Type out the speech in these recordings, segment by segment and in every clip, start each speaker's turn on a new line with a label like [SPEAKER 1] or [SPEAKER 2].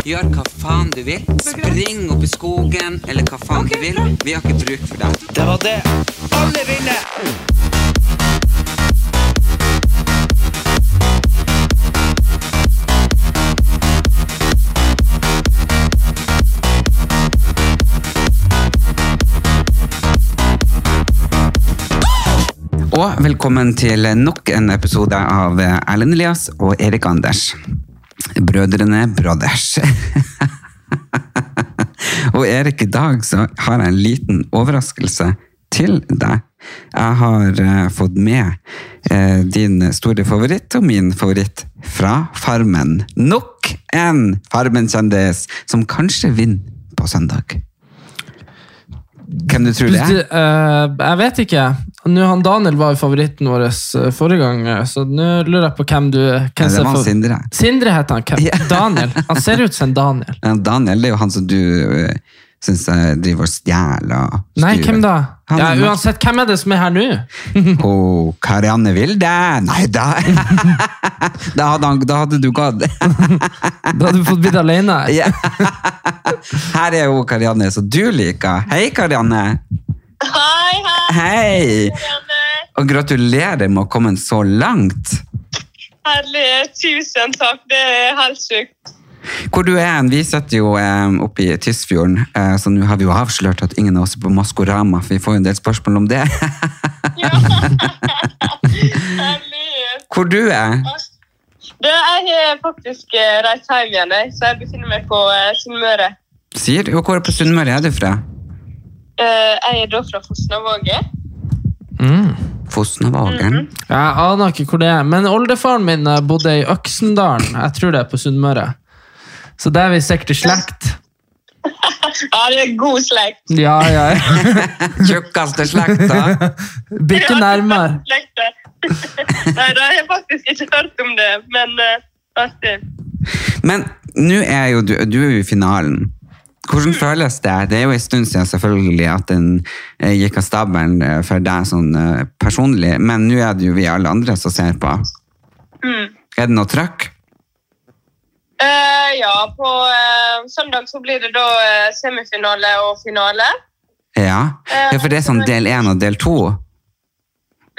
[SPEAKER 1] Gjør hva faen du vil. Spring opp i skogen, eller hva faen du vil. Vi har ikke bruk for deg. Det var det. Alle vinner! Og velkommen til nok en episode av Erlend Elias og Erik Anders. Brødrene Brothers. og Erik, i dag så har jeg en liten overraskelse til deg. Jeg har eh, fått med eh, din store favoritt og min favoritt fra Farmen. Nok en Farmen-kjendis som kanskje vinner på søndag. Hvem du tror det er?
[SPEAKER 2] Du, eh, jeg vet ikke. Nå, han Daniel var jo favoritten vår eh, forrige gang, eh, så nå lurer jeg på hvem du hvem
[SPEAKER 1] det
[SPEAKER 2] ser
[SPEAKER 1] var
[SPEAKER 2] altså, for-
[SPEAKER 1] Sindre.
[SPEAKER 2] Sindre heter han. Hvem?
[SPEAKER 1] Ja.
[SPEAKER 2] Daniel. Han ser ut som en Daniel.
[SPEAKER 1] Ja, Daniel det er jo han som du uh, syns driver og stjeler og
[SPEAKER 2] Nei,
[SPEAKER 1] styrer.
[SPEAKER 2] hvem da?
[SPEAKER 1] Han
[SPEAKER 2] Ja,
[SPEAKER 1] er nok-
[SPEAKER 2] uansett, hvem er det som er her nå?
[SPEAKER 1] Å, Karianne Vilde! Nei, da Da hadde, han, da hadde du gått.
[SPEAKER 2] Da hadde du fått blitt alene.
[SPEAKER 1] Ja. Her er jo Karianne, som du liker. Hei, Karianne!
[SPEAKER 3] Hei, hei,
[SPEAKER 1] Hei!
[SPEAKER 3] Janne.
[SPEAKER 1] Og gratulerer med å ha kommet så langt.
[SPEAKER 3] Herlighet. Tusen takk. Det er helt sjukt.
[SPEAKER 1] Hvor du er hen? Vi sitter jo eh, oppe i Tysfjorden, eh, så nå har vi jo avslørt at ingen av oss er på Maskorama, for vi får jo en del spørsmål om det.
[SPEAKER 3] Ja. Herlighet.
[SPEAKER 1] Hvor du er?
[SPEAKER 3] Du, jeg har faktisk eh, reist hjem igjen, jeg, så jeg befinner meg på eh, Sunnmøre.
[SPEAKER 1] Sier du? Hvor på Sunnmøre er du fra?
[SPEAKER 3] Eh, jeg er da fra Fosnavåget.
[SPEAKER 2] Mm.
[SPEAKER 1] Fosnavågen.
[SPEAKER 2] Jeg aner ikke hvor det er, men oldefaren min eh, bodde i Øksendalen. Jeg tror det er på Sunnmøre. Så der er vi sikkert i slekt.
[SPEAKER 3] Ja, det er god slekt.
[SPEAKER 2] Ja, ja.
[SPEAKER 1] Tjukkeste slekta.
[SPEAKER 2] Bikke nærmere.
[SPEAKER 3] Slekt, det. Nei, da har jeg faktisk ikke hørt om det, men eh, artig.
[SPEAKER 1] Men nå er jo du, du er jo i finalen. Hvordan føles det? Det er jo en stund siden selvfølgelig at den eh, gikk av stabelen eh, for deg sånn eh, personlig, men nå er det jo vi alle andre som ser på.
[SPEAKER 3] Mm.
[SPEAKER 1] Er det noe trøkk?
[SPEAKER 3] Eh, ja, på eh, søndag så blir det da eh, semifinale og finale.
[SPEAKER 1] Ja. ja, for det er sånn del 1 og del 2.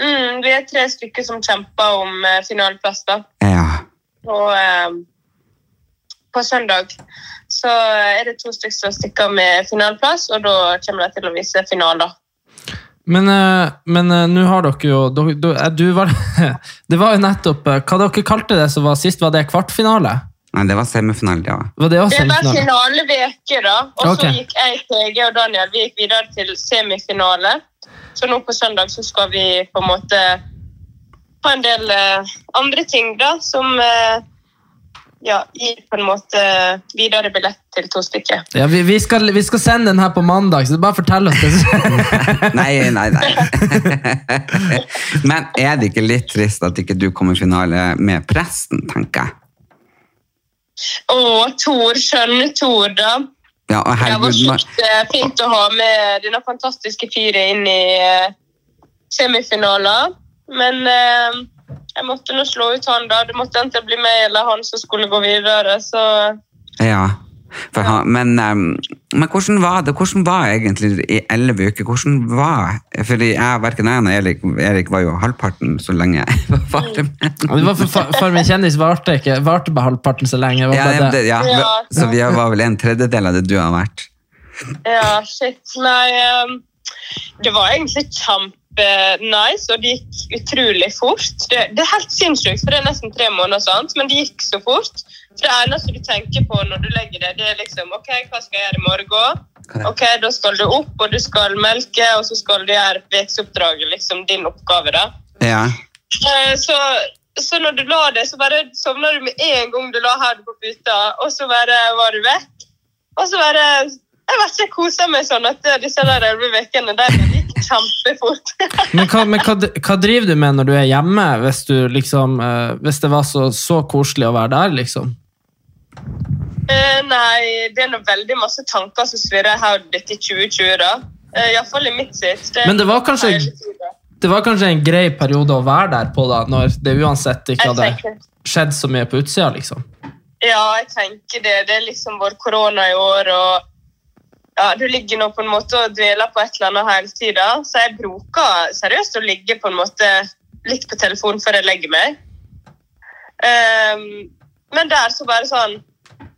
[SPEAKER 3] Mm, vi er tre stykker som kjemper om eh, finaleplass da,
[SPEAKER 1] Ja.
[SPEAKER 3] på, eh, på søndag. Så eh, er det to stykker som stikker med finaleplass, og da kommer de til å vise finaler.
[SPEAKER 2] Men, eh, men eh, nå har dere jo dere, du, eh, du var, Det var jo nettopp eh, Hva dere kalte det som var sist? Var det kvartfinale?
[SPEAKER 1] Nei, det var semifinale, ja.
[SPEAKER 2] Var det også
[SPEAKER 3] Det var
[SPEAKER 2] semifinale?
[SPEAKER 3] finaleveke da, og
[SPEAKER 2] Ok.
[SPEAKER 3] så gikk jeg, TG og Daniel vi gikk videre til semifinale. Så nå på søndag så skal vi på en måte ha en del eh, andre ting da, som eh, ja, gir på en måte videre billett til to stykker.
[SPEAKER 2] Ja, vi, vi, skal, vi skal sende den her på mandag, så det er bare fortell oss det.
[SPEAKER 1] Nei, nei, nei. Men er det ikke litt trist at ikke du kommer i finale med presten, tenker jeg?
[SPEAKER 3] Å, Tor, skjønne Tor, da.
[SPEAKER 1] Ja, og
[SPEAKER 3] Det var
[SPEAKER 1] herregud, nå-
[SPEAKER 3] sjukt eh, fint å ha med denne fantastiske fyret inn i eh, semifinaler. Men eh, jeg måtte nå slå ut han, da. Det måtte enten bli meg eller han som skulle gå videre. Så
[SPEAKER 1] Ja. For han, men, ehm, men hvordan var det? Hvordan var egentlig i elleve uker? Hvordan var Fordi jeg, verken jeg eller Erik, Erik var jo halvparten så lenge jeg var med.
[SPEAKER 2] Det var for, for, for min kjendis varte ikke varte bare halvparten så lenge. Det var
[SPEAKER 1] Ja, det-
[SPEAKER 2] bare det.
[SPEAKER 1] ja.
[SPEAKER 3] Ja.
[SPEAKER 1] Så vi var vel en tredjedel av det du har vært.
[SPEAKER 3] ja, shit. Nei, eh, det var egentlig kjempenice, og det gikk utrolig fort. Det, det er helt sinnssykt, for det er nesten tre måneder, sant? men det gikk så fort. For det eneste du tenker på når du legger deg, det er liksom OK, hva skal jeg gjøre i morgen? Ok, da skal du opp, og du skal melke, og så skal du gjøre veksoppdraget, liksom din oppgave da.
[SPEAKER 1] Ja.
[SPEAKER 3] Eh, Så, så når du la det, så bare sovna du med en gang du la hodet på puta, og så bare var du vekk. Og så bare Jeg vet ikke, jeg koser meg sånn at disse der elleve ukene der gikk kjempefort.
[SPEAKER 2] Men, hva, men hva, hva driver du med når du er hjemme, hvis, du liksom, eh, hvis det var så, så koselig å være der, liksom?
[SPEAKER 3] Eh, nei, det er nå veldig masse tanker som svirrer i hodet ditt i 2020, da. Uh, Iallfall i mitt sitt.
[SPEAKER 2] Men det var kanskje- Det var kanskje en grei periode å være der på, da, når det uansett ikke
[SPEAKER 3] Jeg
[SPEAKER 2] hadde
[SPEAKER 3] tenker,
[SPEAKER 2] skjedd så mye på utsida, liksom.
[SPEAKER 3] ja, jeg tenker det. Det er liksom vår korona i år, og ja, du ligger nå på en måte og dveler på et eller annet hele tida. Så jeg bruker seriøst å ligge på en måte litt på telefonen før jeg legger meg. Ehm, men der så bare sånn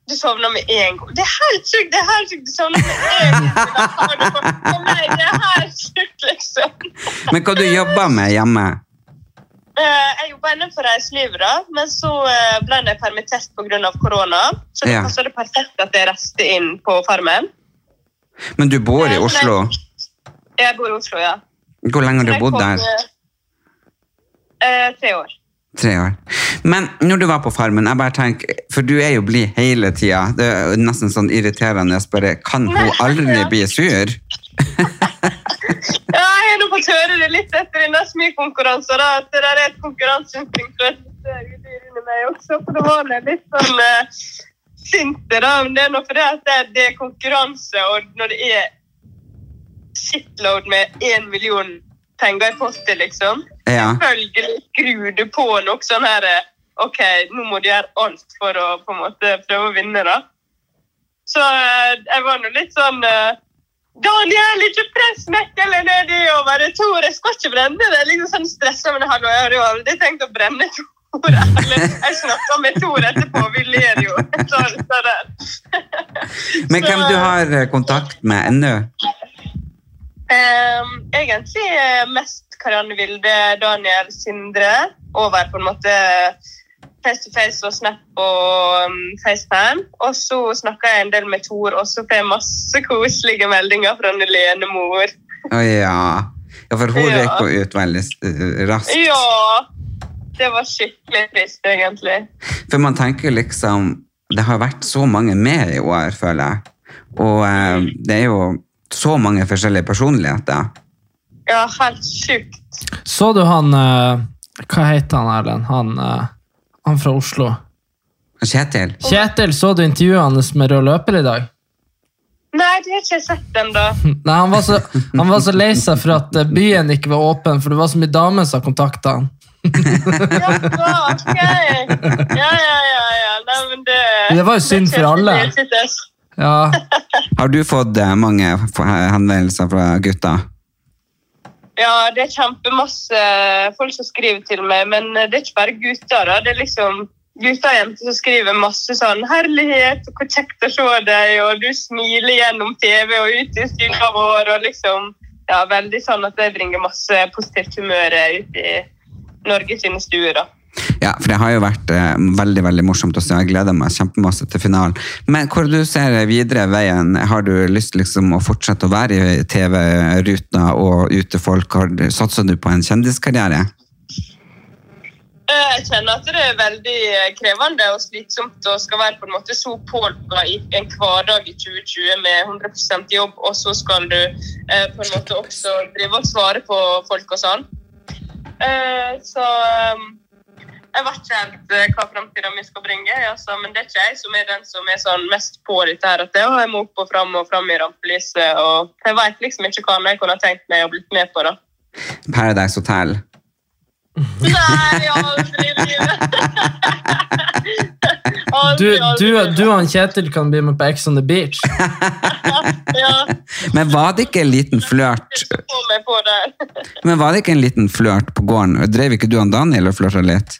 [SPEAKER 3] Du sovner med en gang. Det er helt sjukt! Det er helt sjukt! Du sovner med en gang! Det er helt sjukt, liksom.
[SPEAKER 1] Men hva du jobber med hjemme?
[SPEAKER 3] Eh, Jeg jobba innenfor reiselivet, da, men så eh, ble jeg permittert pga. korona. Så det
[SPEAKER 1] Ja.
[SPEAKER 3] passet det perfekt at jeg reiste inn på Farmen.
[SPEAKER 1] Men du bor
[SPEAKER 3] Eh,
[SPEAKER 1] i Oslo.
[SPEAKER 3] Jeg bor i Oslo, ja.
[SPEAKER 1] Hvor lenge har du
[SPEAKER 3] Jeg
[SPEAKER 1] bodd
[SPEAKER 3] kom,
[SPEAKER 1] der?
[SPEAKER 3] eh, eh, tre år.
[SPEAKER 1] Tre år. Men når du var på farmen, jeg bare tenker, for du er jo blid hele tida. Det er jo nesten sånn irriterende. Jeg Bare, kan hun aldri bli sur?
[SPEAKER 3] Ja, jeg har nå fått høre det litt etter denne smykonkurransen, da, at det der er et konkurranseinstinkt for dette udyret inni meg også. For det var jeg litt sånn eh, sint i det, men det er nå fordi at det, det er konkurranse, og når det er shitload med én million penger i posten, liksom,
[SPEAKER 1] Ja.
[SPEAKER 3] selvfølgelig skrur du på noe sånn her eh, OK, nå må du gjøre alt for å på en måte prøve å vinne, da. Så eh, jeg var nå litt sånn eh, Daniel, ikke press nøkkelen nedi og bare Tor, jeg skal ikke brenne det. Liksom sånn stressa, men hallo, jeg har jo aldri tenkt å brenne Tor. Eller jeg snakka med Tor etterpå, vi ler jo. Så, så der.
[SPEAKER 1] Men hvem du har eh, kontakt med ennå?
[SPEAKER 3] Ehm, egentlig eh, mest Karianne Vilde, Daniel Sindre. Over på en måte face to face og Snap og um, FaceTime. Og så snakker jeg en del med Tor også, for jeg har masse koselige meldinger fra en Lene mor.
[SPEAKER 1] Å ja. ja. For hun
[SPEAKER 3] Ja.
[SPEAKER 1] røyk jo ut veldig eh, raskt.
[SPEAKER 3] Ja! Det var skikkelig trist, egentlig.
[SPEAKER 1] For man tenker liksom Det har vært så mange med i år, føler jeg. Og eh, det er jo så mange forskjellige personligheter.
[SPEAKER 3] Ja, helt sjukt.
[SPEAKER 2] Så du han eh, Hva heter han, Erlend? Han, eh, han fra Oslo.
[SPEAKER 1] Kjetil?
[SPEAKER 2] Kjetil, så du intervjuet hans med rød løper i dag?
[SPEAKER 3] Nei, det har ikke jeg sett ennå.
[SPEAKER 2] Nei, han var så, han var så lei seg for at eh, byen ikke var åpen, for det var så mye damer som kontakta han.
[SPEAKER 3] Ja, ok. Ja, ja, ja. ja. Nei, men det
[SPEAKER 2] Det var jo synd for alle.
[SPEAKER 3] Det kjente jeg.
[SPEAKER 2] Ja,
[SPEAKER 1] Har du fått eh, mange f- henvendelser fra gutta?
[SPEAKER 3] Ja, det er kjempemasse folk som skriver til meg, men det er ikke bare gutter. da. Det er liksom gutter og jenter som skriver masse sånn 'Herlighet, hvor kjekt å se deg', og 'du smiler gjennom TV' og ut i stua vår, og liksom Ja, veldig sånn at det bringer masse positivt humør ut i Norge sine stuer, da.
[SPEAKER 1] Ja, for det har jo vært eh, veldig veldig morsomt å se. Jeg gleder meg kjempemasse til finalen. Men hvor du ser videre veien? Har du lyst liksom å fortsette å være i TV-ruta og ute folk? Har du- Satser du på en kjendiskarriere?
[SPEAKER 3] Eh, Jeg kjenner at det er veldig eh, krevende og slitsomt å skal være på en måte så pålogga i en hverdag i 2020 med 100 jobb, og så skal du eh, på en måte også drive og svare på folk og sånn. Eh, Så eh, jeg vet ikke helt eh, hva framtida mi skal bringe, ja, så- men det er ikke jeg som er den som er sånn mest på dette her. At det, «Å, jeg må opp og fram og fram i rampelyset, og jeg veit liksom ikke hva jeg kunne tenkt meg å blitt med på, da.
[SPEAKER 1] Paradise Hotel?
[SPEAKER 3] Nei, aldri i livet.
[SPEAKER 2] du,
[SPEAKER 3] Aldri, aldri
[SPEAKER 2] du,
[SPEAKER 3] i livet.
[SPEAKER 2] du og han Kjetil kan bli med på Ex on the Beach.
[SPEAKER 3] Ja,
[SPEAKER 1] Men var det ikke en liten flørt
[SPEAKER 3] så får meg på det.
[SPEAKER 1] Men var det ikke en liten flørt på gården? Drev ikke du og Daniel og flørta litt?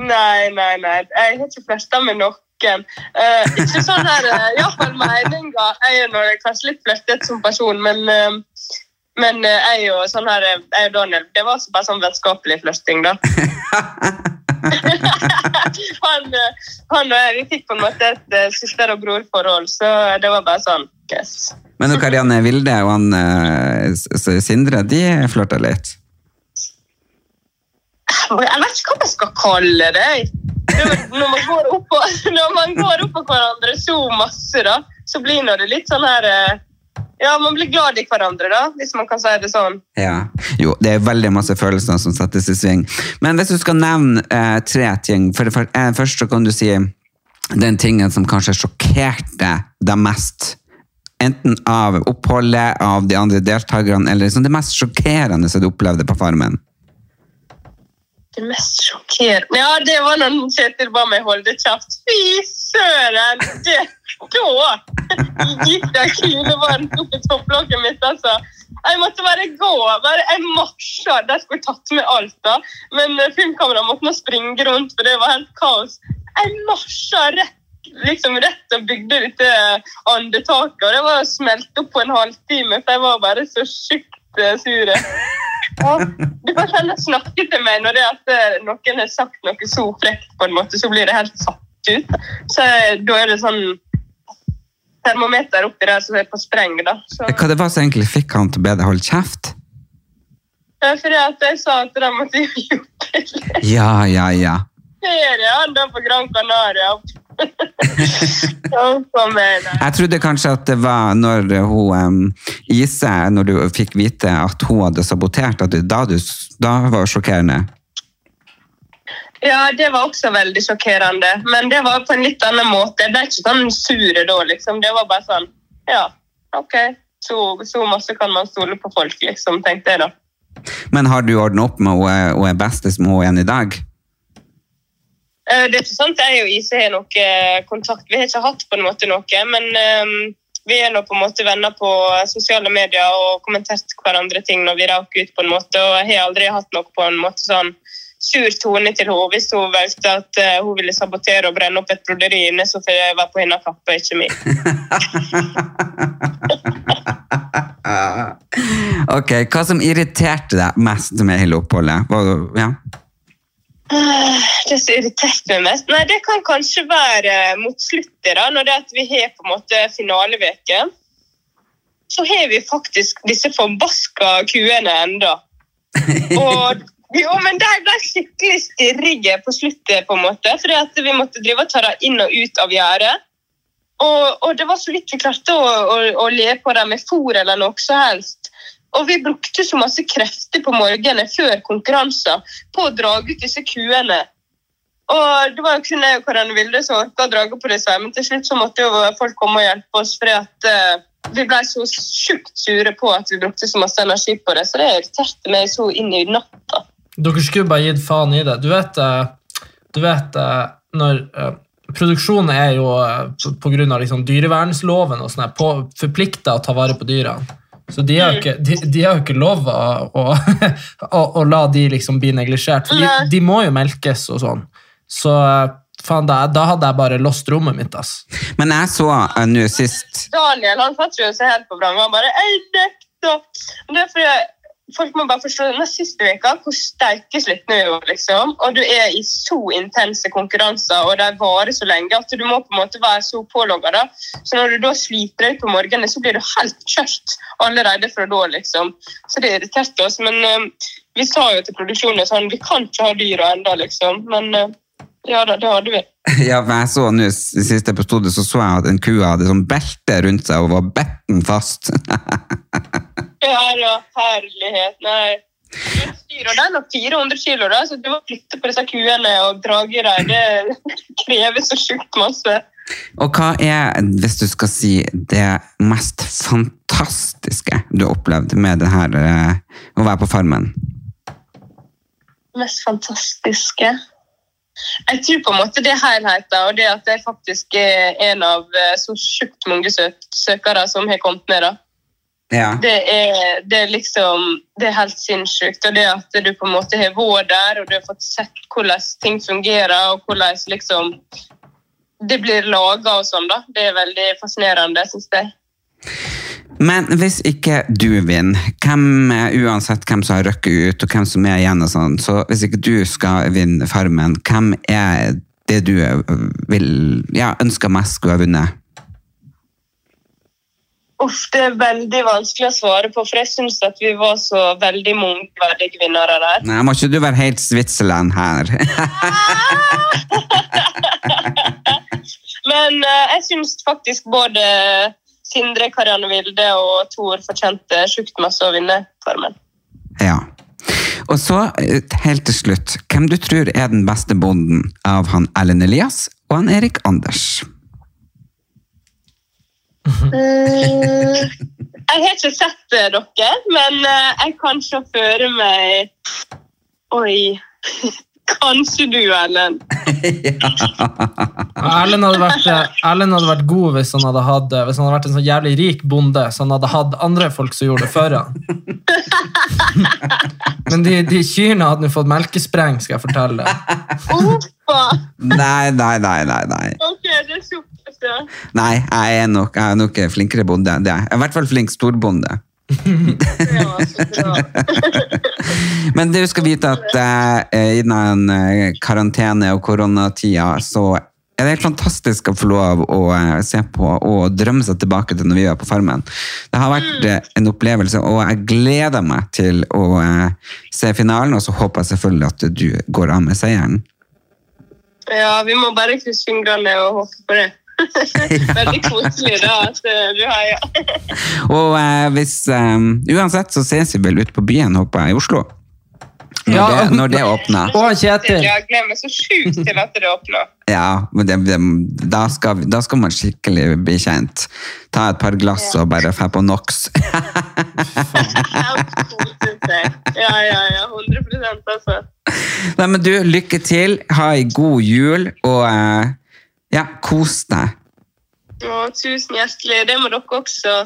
[SPEAKER 3] Nei, nei, nei. Jeg har ikke flørta med noen. Eh, ikke sånn her eh, Iallfall meninga. Jeg er nå kanskje litt flørtete som person, men eh, men eh, jeg og sånn her, eh, jeg og Daniel, det var også bare sånn vennskapelig flørting, da. han, eh, han og jeg vi fikk på en måte et eh, søster- og brorforhold, så det var bare sånn yes.
[SPEAKER 1] Men og Karianne Vilde og han eh, S- S- Sindre, de flørta litt.
[SPEAKER 3] Jeg vet ikke hva jeg skal kalle det. Du, Når man går opp på, når man går opp på hverandre så masse, da, så blir nå det litt sånn her eh, Ja, man blir glad i hverandre, da, hvis man kan si det sånn.
[SPEAKER 1] Ja. Jo, det er veldig masse følelser som settes i sving. Men hvis du skal nevne eh, tre ting for, det fyr- eh, Først så kan du si den tingen som kanskje sjokkerte deg mest. Enten av oppholdet, av de andre deltakerne, eller liksom det mest sjokkerende som du opplevde på Farmen.
[SPEAKER 3] Det mest sjokkerende Ja, det var når Kjetil ba meg holde kjeft. Fy søren! Det, da gikk det kulevarmt opp i topplokket mitt, altså. Jeg måtte bare gå over. Jeg marsja. De skulle tatt med alt, da. Men eh, filmkameraet måtte nå springe rundt, for det var helt kaos. Jeg marsja rett liksom rett og bygde dette eh, andetaket, og det var smelt opp på en halvtime, for jeg var bare så sjukt eh, sur. Ja, du kan heller snakke til meg når det er at eh, noen har sagt noe så frekt, på en måte, så blir det helt satt ut. Så eh, da er det sånn termometer oppi der som er på spreng, da. Så,
[SPEAKER 1] Eh, Hva det var som egentlig fikk han til å be deg holde kjeft?
[SPEAKER 3] Ja, fordi at jeg sa at de måtte jo gjort det.
[SPEAKER 1] Ja, ja, ja.
[SPEAKER 3] ferie han da på Gran Canaria. Huff a meg, da.
[SPEAKER 1] Jeg trodde kanskje at det var når hun em, Ise, når du fikk vite at hun hadde sabotert, at du, da, du, s- da var det sjokkerende.
[SPEAKER 3] Ja, det var også veldig sjokkerende, men det var på en litt annen måte. Jeg ble ikke sånn sure da, liksom. Det var bare sånn, ja, ok, så, så masse kan man stole på folk, liksom, tenkte jeg da.
[SPEAKER 1] Men har du ordnet opp med hun, hun er bestes med hun igjen i dag?
[SPEAKER 3] Eh, Det er ikke sant, jeg og Ise E har noe eh, kontakt. Vi har ikke hatt på en måte noe, men ehm, vi er nå på en måte venner på sosiale medier og kommentert hverandre ting når vi raker ut på en måte, og jeg har aldri hatt noe på en måte sånn sur tone til henne. Hvis hun valgte at eh, hun ville sabotere og brenne opp et broderi inne, så får jeg være på hennes kappe, ikke min.
[SPEAKER 1] Ok, hva som irriterte deg mest med hele oppholdet? Hva- Ja.
[SPEAKER 3] Ah, Det som irriterte meg mest Nei, det kan kanskje være eh, mot sluttet, da, når det er at vi har på en måte finaleveke. Så har vi faktisk disse forbaska kuene enda. Og jo, men de ble skikkelig stirrige på sluttet, på en måte. Fordi at vi måtte drive og ta dem inn og ut av gjerdet. Og, og det var så vidt vi klarte å, å, å le på dem med fôr eller noe som helst. Og vi brukte så masse krefter på morgenen før konkurranser på å dra ut disse kuene. Og det var jo kun jeg og Karin Vilde som orka å dra på disse, men til slutt så måtte jo folk komme og hjelpe oss, fordi at eh, vi ble så sjukt sure på at vi brukte så masse energi på det, så det irriterte meg så inn i natta.
[SPEAKER 2] Dere skulle bare gitt faen i det. Du vet, eh, du vet eh, når eh, Produksjonen er jo eh, på- på grunn av liksom dyrevernsloven og sånn her, på- forpliktet å ta vare på dyra. Så de har jo ikke, de, de har jo ikke lov å, å, å, å la de liksom bli neglisjert. For de,
[SPEAKER 3] Nei.
[SPEAKER 2] de må jo melkes og sånn. Så eh, faen, da, da hadde jeg bare lost rommet mitt, ass.
[SPEAKER 1] Men jeg så eh, nå sist
[SPEAKER 3] Daniel han satt jo seg helt på vrang. Han bare «Jeg nekter!» Og Det er fordi Folk må bare forstå den siste veka, hvor sterke slitne vi var. liksom. Og du er i så intense konkurranser, og de varer så lenge at du må på en måte være så pålogga. da. Så når du da sliter deg ut på morgenen, så blir du helt kjørt allerede fra da. liksom. Så det irriterte oss. Men eh, vi sa jo til produksjonen sånn Vi kan ikke ha dyra ennå, liksom. Men eh, ja da, det hadde vi.
[SPEAKER 1] Ja, for jeg så nå s- sist jeg bestod det, så så jeg at en ku hadde sånn belte rundt seg og var betten fast.
[SPEAKER 3] Ja, ja, herlighet. Nei. Styrer den opp 400 kilo, da, så du må flytte på disse kuene og drage dem. Det krever så sjukt masse.
[SPEAKER 1] Og hva er, hvis du skal si, det mest fantastiske du har opplevd med det her eh, å være på farmen?
[SPEAKER 3] mest fantastiske? Jeg tror på en måte det er helheten, og det at jeg faktisk er en av eh, så sjukt mange sø søkere som har kommet med. da.
[SPEAKER 1] Ja.
[SPEAKER 3] Det er, det er liksom Det er helt sinnssykt. Og det at du på en måte har vært der, og du har fått sett hvordan ting fungerer, og hvordan liksom det blir laga og sånn, da. Det er veldig fascinerende, syns jeg.
[SPEAKER 1] Men hvis ikke du vinner, hvem, eh, uansett hvem som har røkket ut, og hvem som er igjen og sånn, så hvis ikke du skal vinne Farmen, hvem er det du eh, vil, ja, ønsker mest skulle ha vunnet?
[SPEAKER 3] Uff, det er veldig vanskelig å svare på, for jeg syns at vi var så veldig mange verdige vinnere der.
[SPEAKER 1] Nei, må ikke du være helt Svitserland her?
[SPEAKER 3] Men eh, jeg syns faktisk både Sindre Karianne Vilde og Thor fortjente sjukt masse å vinne Farmen.
[SPEAKER 1] Ja. Og så, eh, helt til slutt, hvem du tror er den beste bonden av han Ellen Elias og han Erik Anders?
[SPEAKER 3] Eh, jeg har ikke sett eh, dere, men eh, jeg kan se føre meg Oi. Kanskje du, Ellen.
[SPEAKER 2] Ja, Erlend hadde, vært, eh, Erlend hadde vært god hvis han hadde, hatt, eh, hvis han hadde vært en sånn jævlig rik bonde, så han hadde hatt andre folk som gjorde det for han. Men de, de kyrne hadde nå fått melkespreng, skal jeg fortelle deg.
[SPEAKER 3] Oppa.
[SPEAKER 1] Nei, nei, nei, nei, nei.
[SPEAKER 3] OK, det er supert. ja.
[SPEAKER 1] Nei, jeg er nok, jeg er nok en flinkere bonde. Det er. Jeg er i hvert fall flink storbonde.
[SPEAKER 3] Det var så bra.
[SPEAKER 1] Men du skal vite at eh, innen eh, karantene og koronatida, så er det helt fantastisk å få lov å eh, se på og drømme seg tilbake til når vi var på Farmen. Det har vært eh, en opplevelse, og jeg gleder meg til å eh, se finalen, og så håper jeg selvfølgelig at du går av med seieren.
[SPEAKER 3] Ja, vi må bare krysse fingrene og håpe på det. Veldig koselig da at eh, du har ja.
[SPEAKER 1] Og eh, hvis, eh, uansett så ses vi vel ute på byen, håper jeg, i Oslo. Når,
[SPEAKER 2] Ja.
[SPEAKER 1] det, når det åpner.
[SPEAKER 2] Og han Kjetil.
[SPEAKER 3] Jeg gleder meg så sjukt til at det åpner.
[SPEAKER 1] Ja, men det, det, da, skal, vi- da skal man skikkelig bli kjent. Ta et par glass og bare få på NOx.
[SPEAKER 3] Kjempekoselig. Ja, ja, ja. 100 altså.
[SPEAKER 1] Nei, men du, lykke til. Ha ei god jul, og eh, ja, kos deg.
[SPEAKER 3] Og tusen hjertelig. Det må dere også.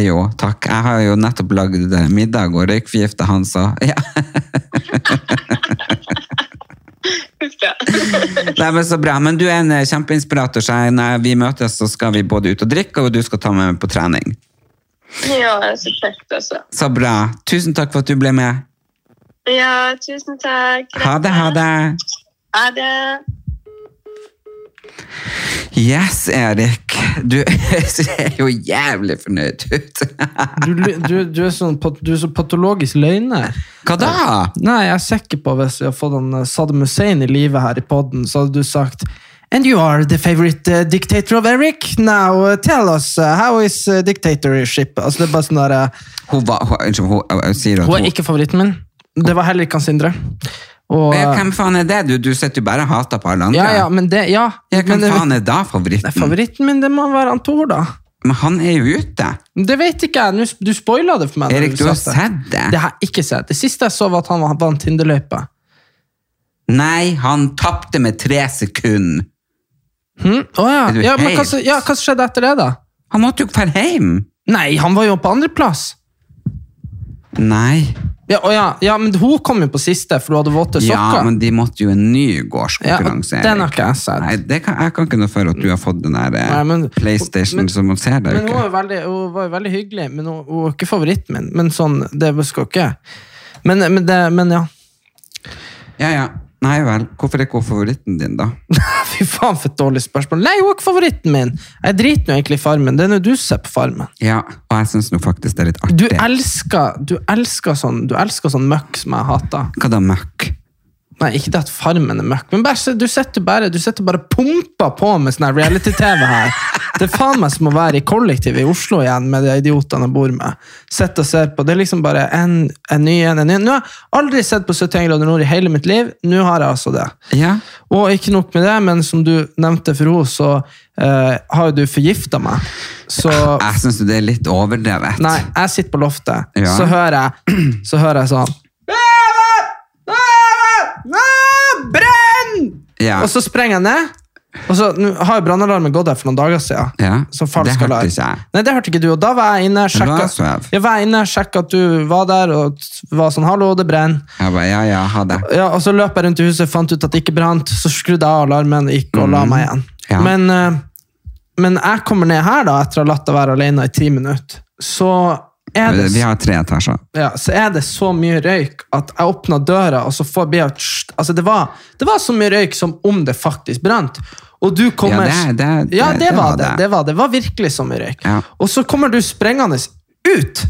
[SPEAKER 1] Jo, takk. Jeg har jo nettopp lagd eh, middag og røykforgifta han, så ja.
[SPEAKER 3] Huff da.
[SPEAKER 1] Nei, men så bra. Men du er en eh, kjempeinspirator, så jeg- når vi møtes, så skal vi både ut og drikke, og du skal ta med meg på trening.
[SPEAKER 3] Ja, så kjekt, altså.
[SPEAKER 1] Så bra. Tusen takk for at du ble med.
[SPEAKER 3] Ja, tusen takk.
[SPEAKER 1] Ha det, ha det.
[SPEAKER 3] Ha det.
[SPEAKER 1] Yes, Erik. Du ser jo jævlig fornøyd ut.
[SPEAKER 2] Du, du- du er sånn pat- du er så patologisk løgner.
[SPEAKER 1] Hva da?
[SPEAKER 2] Nei, jeg er sikker på hvis jeg hadde fått han eh, Saddam Hussein i live her i podden, så hadde du sagt And you are the favorite eh, dictator of Eric. Now eh, tell us, eh, how is eh, dictatorship? Altså, det er bare sånn der, eh,
[SPEAKER 1] Hun var hun, Unnskyld, hun, hun, hun sier at
[SPEAKER 2] Hun
[SPEAKER 1] hun
[SPEAKER 2] er ikke favoritten min. Det var heller ikke han Sindre. Og,
[SPEAKER 1] Ja, Hvem faen er det? Du, du sitter jo bare og hater på alle andre.
[SPEAKER 2] ja, ja, men det, ja.
[SPEAKER 1] Ja, hvem
[SPEAKER 2] men,
[SPEAKER 1] faen er da
[SPEAKER 2] Nei,
[SPEAKER 1] favoritten?
[SPEAKER 2] favoritten min, det må være han Tor, da.
[SPEAKER 1] Men han er jo ute.
[SPEAKER 2] Det vet ikke jeg. Nå s- Du spoila det for meg. når
[SPEAKER 1] Erik, du har
[SPEAKER 2] sa det.
[SPEAKER 1] sett det.
[SPEAKER 2] Det har jeg ikke sett. Det siste jeg så, var at han var- vant Tinderløypa.
[SPEAKER 1] Nei, han tapte med tre sekunder.
[SPEAKER 2] Hm? Å ja.
[SPEAKER 1] Er du
[SPEAKER 2] Ja, men hva,
[SPEAKER 1] helt-
[SPEAKER 2] så- ja, hva skjedde etter det, da?
[SPEAKER 1] Han måtte jo ikke dra hjem.
[SPEAKER 2] Nei, han var jo på andreplass.
[SPEAKER 1] Nei.
[SPEAKER 2] Ja, å ja. ja, men hun kom jo på siste, for hun hadde våte sokker.
[SPEAKER 1] Ja, men de måtte jo en ny gårdskonkurranse.
[SPEAKER 2] Ja, og den har
[SPEAKER 1] Erik.
[SPEAKER 2] ikke jeg sett.
[SPEAKER 1] Nei, det kan, jeg kan ikke noe for at du har fått den der eh,
[SPEAKER 2] Nei, men-
[SPEAKER 1] PlayStation
[SPEAKER 2] men-
[SPEAKER 1] som man ser der.
[SPEAKER 2] Men hun var, jo veldig, hun var jo veldig hyggelig, men hun, hun var ikke favoritten min. Men sånn, det skal ikke Men, men, det, men ja.
[SPEAKER 1] Ja, ja. Nei vel. Hvorfor er ikke hun favoritten din, da?
[SPEAKER 2] Fy faen, for et dårlig spørsmål. Nei, hun er ikke favoritten min! Jeg driter nå egentlig i Farmen. Det er når du ser på Farmen.
[SPEAKER 1] Ja, og jeg syns nå faktisk det er litt
[SPEAKER 2] Du
[SPEAKER 1] artig.
[SPEAKER 2] elsker, du elsker sånn Du elsker sånn møkk som jeg hater.
[SPEAKER 1] Hva da, møkk?
[SPEAKER 2] Nei, ikke det at Farmen er møkk, men bare, se- du sitter bare Du sitter bare og pumper på med sånn her reality-TV her. Det er faen meg som å være i kollektiv i Oslo igjen med de idiotene jeg bor med. Sitter og ser på. Det er liksom bare en, en ny en, en ny en. Nå har jeg aldri sett på 71 grader nord i hele mitt liv. Nå har jeg altså det.
[SPEAKER 1] Ja.
[SPEAKER 2] Og ikke nok med det, men som du nevnte for henne, så eh, har jo du forgifta meg. Så
[SPEAKER 1] Jeg syns det er litt overdrevet.
[SPEAKER 2] Nei, jeg sitter på loftet,
[SPEAKER 1] Ja.
[SPEAKER 2] så hører jeg Så hører jeg sånn Brenn!
[SPEAKER 1] Ja.
[SPEAKER 2] Og så sprenger jeg ned. Og så nå har jo brannalarmen gått der for noen dager siden.
[SPEAKER 1] Ja,
[SPEAKER 2] Som falsk
[SPEAKER 1] det hørte
[SPEAKER 2] alarm.
[SPEAKER 1] ikke jeg.
[SPEAKER 2] Nei, det hørte ikke du. Og da var jeg inne,
[SPEAKER 1] Da
[SPEAKER 2] sjekka,
[SPEAKER 1] sov.
[SPEAKER 2] jeg var inne, sjekka at du var der, og var sånn 'hallo, det brenner'.
[SPEAKER 1] Jeg bare, ja, ja, ha det.
[SPEAKER 2] Ja, og så løp jeg rundt i huset, fant ut at det ikke brant, så skrudde jeg av alarmen, gikk og la meg igjen.
[SPEAKER 1] Mm. Ja.
[SPEAKER 2] Men, eh, men jeg kommer ned her da, etter å ha latt deg være alene i ti minutter, så er det,
[SPEAKER 1] Vi har tre etasjer.
[SPEAKER 2] ja, så er det så mye røyk at jeg åpna døra, og så får jeg at sst, altså det, var, det var så mye røyk som om det faktisk brant. Og du kommer
[SPEAKER 1] Ja, det- det-
[SPEAKER 2] Ja,
[SPEAKER 1] det-
[SPEAKER 2] det
[SPEAKER 1] det
[SPEAKER 2] var
[SPEAKER 1] var
[SPEAKER 2] det.
[SPEAKER 1] det.
[SPEAKER 2] Det var, det var virkelig så mye røyk.
[SPEAKER 1] Ja.
[SPEAKER 2] Og så kommer du sprengende ut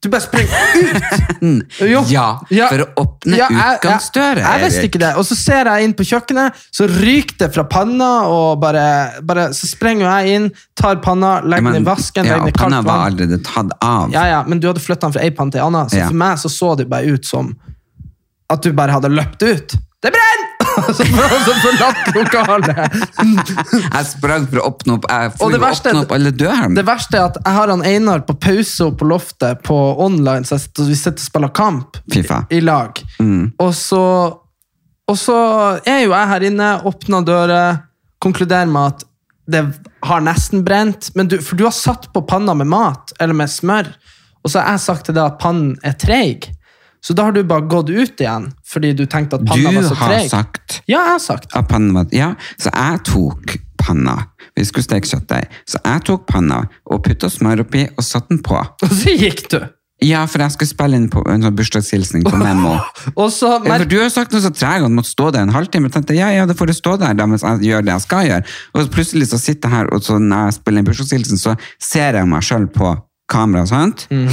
[SPEAKER 2] Du bare springer ut! Jo.
[SPEAKER 1] Ja,
[SPEAKER 2] Ja.
[SPEAKER 1] for å åpne
[SPEAKER 2] Ja, jeg-
[SPEAKER 1] utgangsdøra,
[SPEAKER 2] Jeg, jeg visste ikke det. Og så ser jeg inn på kjøkkenet, så ryker det fra panna, og bare, bare Så sprenger jeg inn, tar panna, legger den i vasken,
[SPEAKER 1] ja,
[SPEAKER 2] legger den i
[SPEAKER 1] panna
[SPEAKER 2] kaldt
[SPEAKER 1] var
[SPEAKER 2] vann.
[SPEAKER 1] allerede tatt av.
[SPEAKER 2] Ja, ja, men du hadde flytta den fra ei panne til ei anna, så
[SPEAKER 1] Ja.
[SPEAKER 2] for meg så, så det bare ut som at du bare hadde løpt ut. Det brenner! Og så og så forlatt lokalet.
[SPEAKER 1] Jeg sprang for å åpne opp, jeg
[SPEAKER 2] Og
[SPEAKER 1] for
[SPEAKER 2] det
[SPEAKER 1] å
[SPEAKER 2] verste-
[SPEAKER 1] åpne opp alle dørene.
[SPEAKER 2] Det verste er at jeg har han Einar på pause og på loftet på online, så jeg sitter, vi sitter og spiller kamp
[SPEAKER 1] Fifa.
[SPEAKER 2] i lag.
[SPEAKER 1] Mm.
[SPEAKER 2] Og, så, og så er jo jeg her inne, åpner dører, konkluderer med at det har nesten brent, men du, for du har satt på panna med mat, eller med smør, og så har jeg sagt til deg at pannen er treig. Så da har du bare gått ut igjen, fordi du tenkte at panna var
[SPEAKER 1] Du
[SPEAKER 2] så
[SPEAKER 1] har
[SPEAKER 2] treig.
[SPEAKER 1] sagt
[SPEAKER 2] Ja, jeg har sagt.
[SPEAKER 1] av pannen var Ja, så jeg tok panna. Vi skulle steke kjøttdeig. Så jeg tok panna og putta smør oppi og satte den på.
[SPEAKER 2] Og så gikk du.
[SPEAKER 1] Ja, for jeg skulle spille inn på en sånn bursdagshilsning på Memo.
[SPEAKER 2] Og så,
[SPEAKER 1] For
[SPEAKER 2] men,
[SPEAKER 1] du har sagt noe så treg, han måtte stå der en halvtime. Jeg tenkte, ja, ja, det får du stå der da, mens jeg gjør det jeg skal gjøre. Og så plutselig så sitter jeg her, og så når jeg spiller en bursdagshilsen, så ser jeg meg selv på kamera, sant?
[SPEAKER 2] Mm.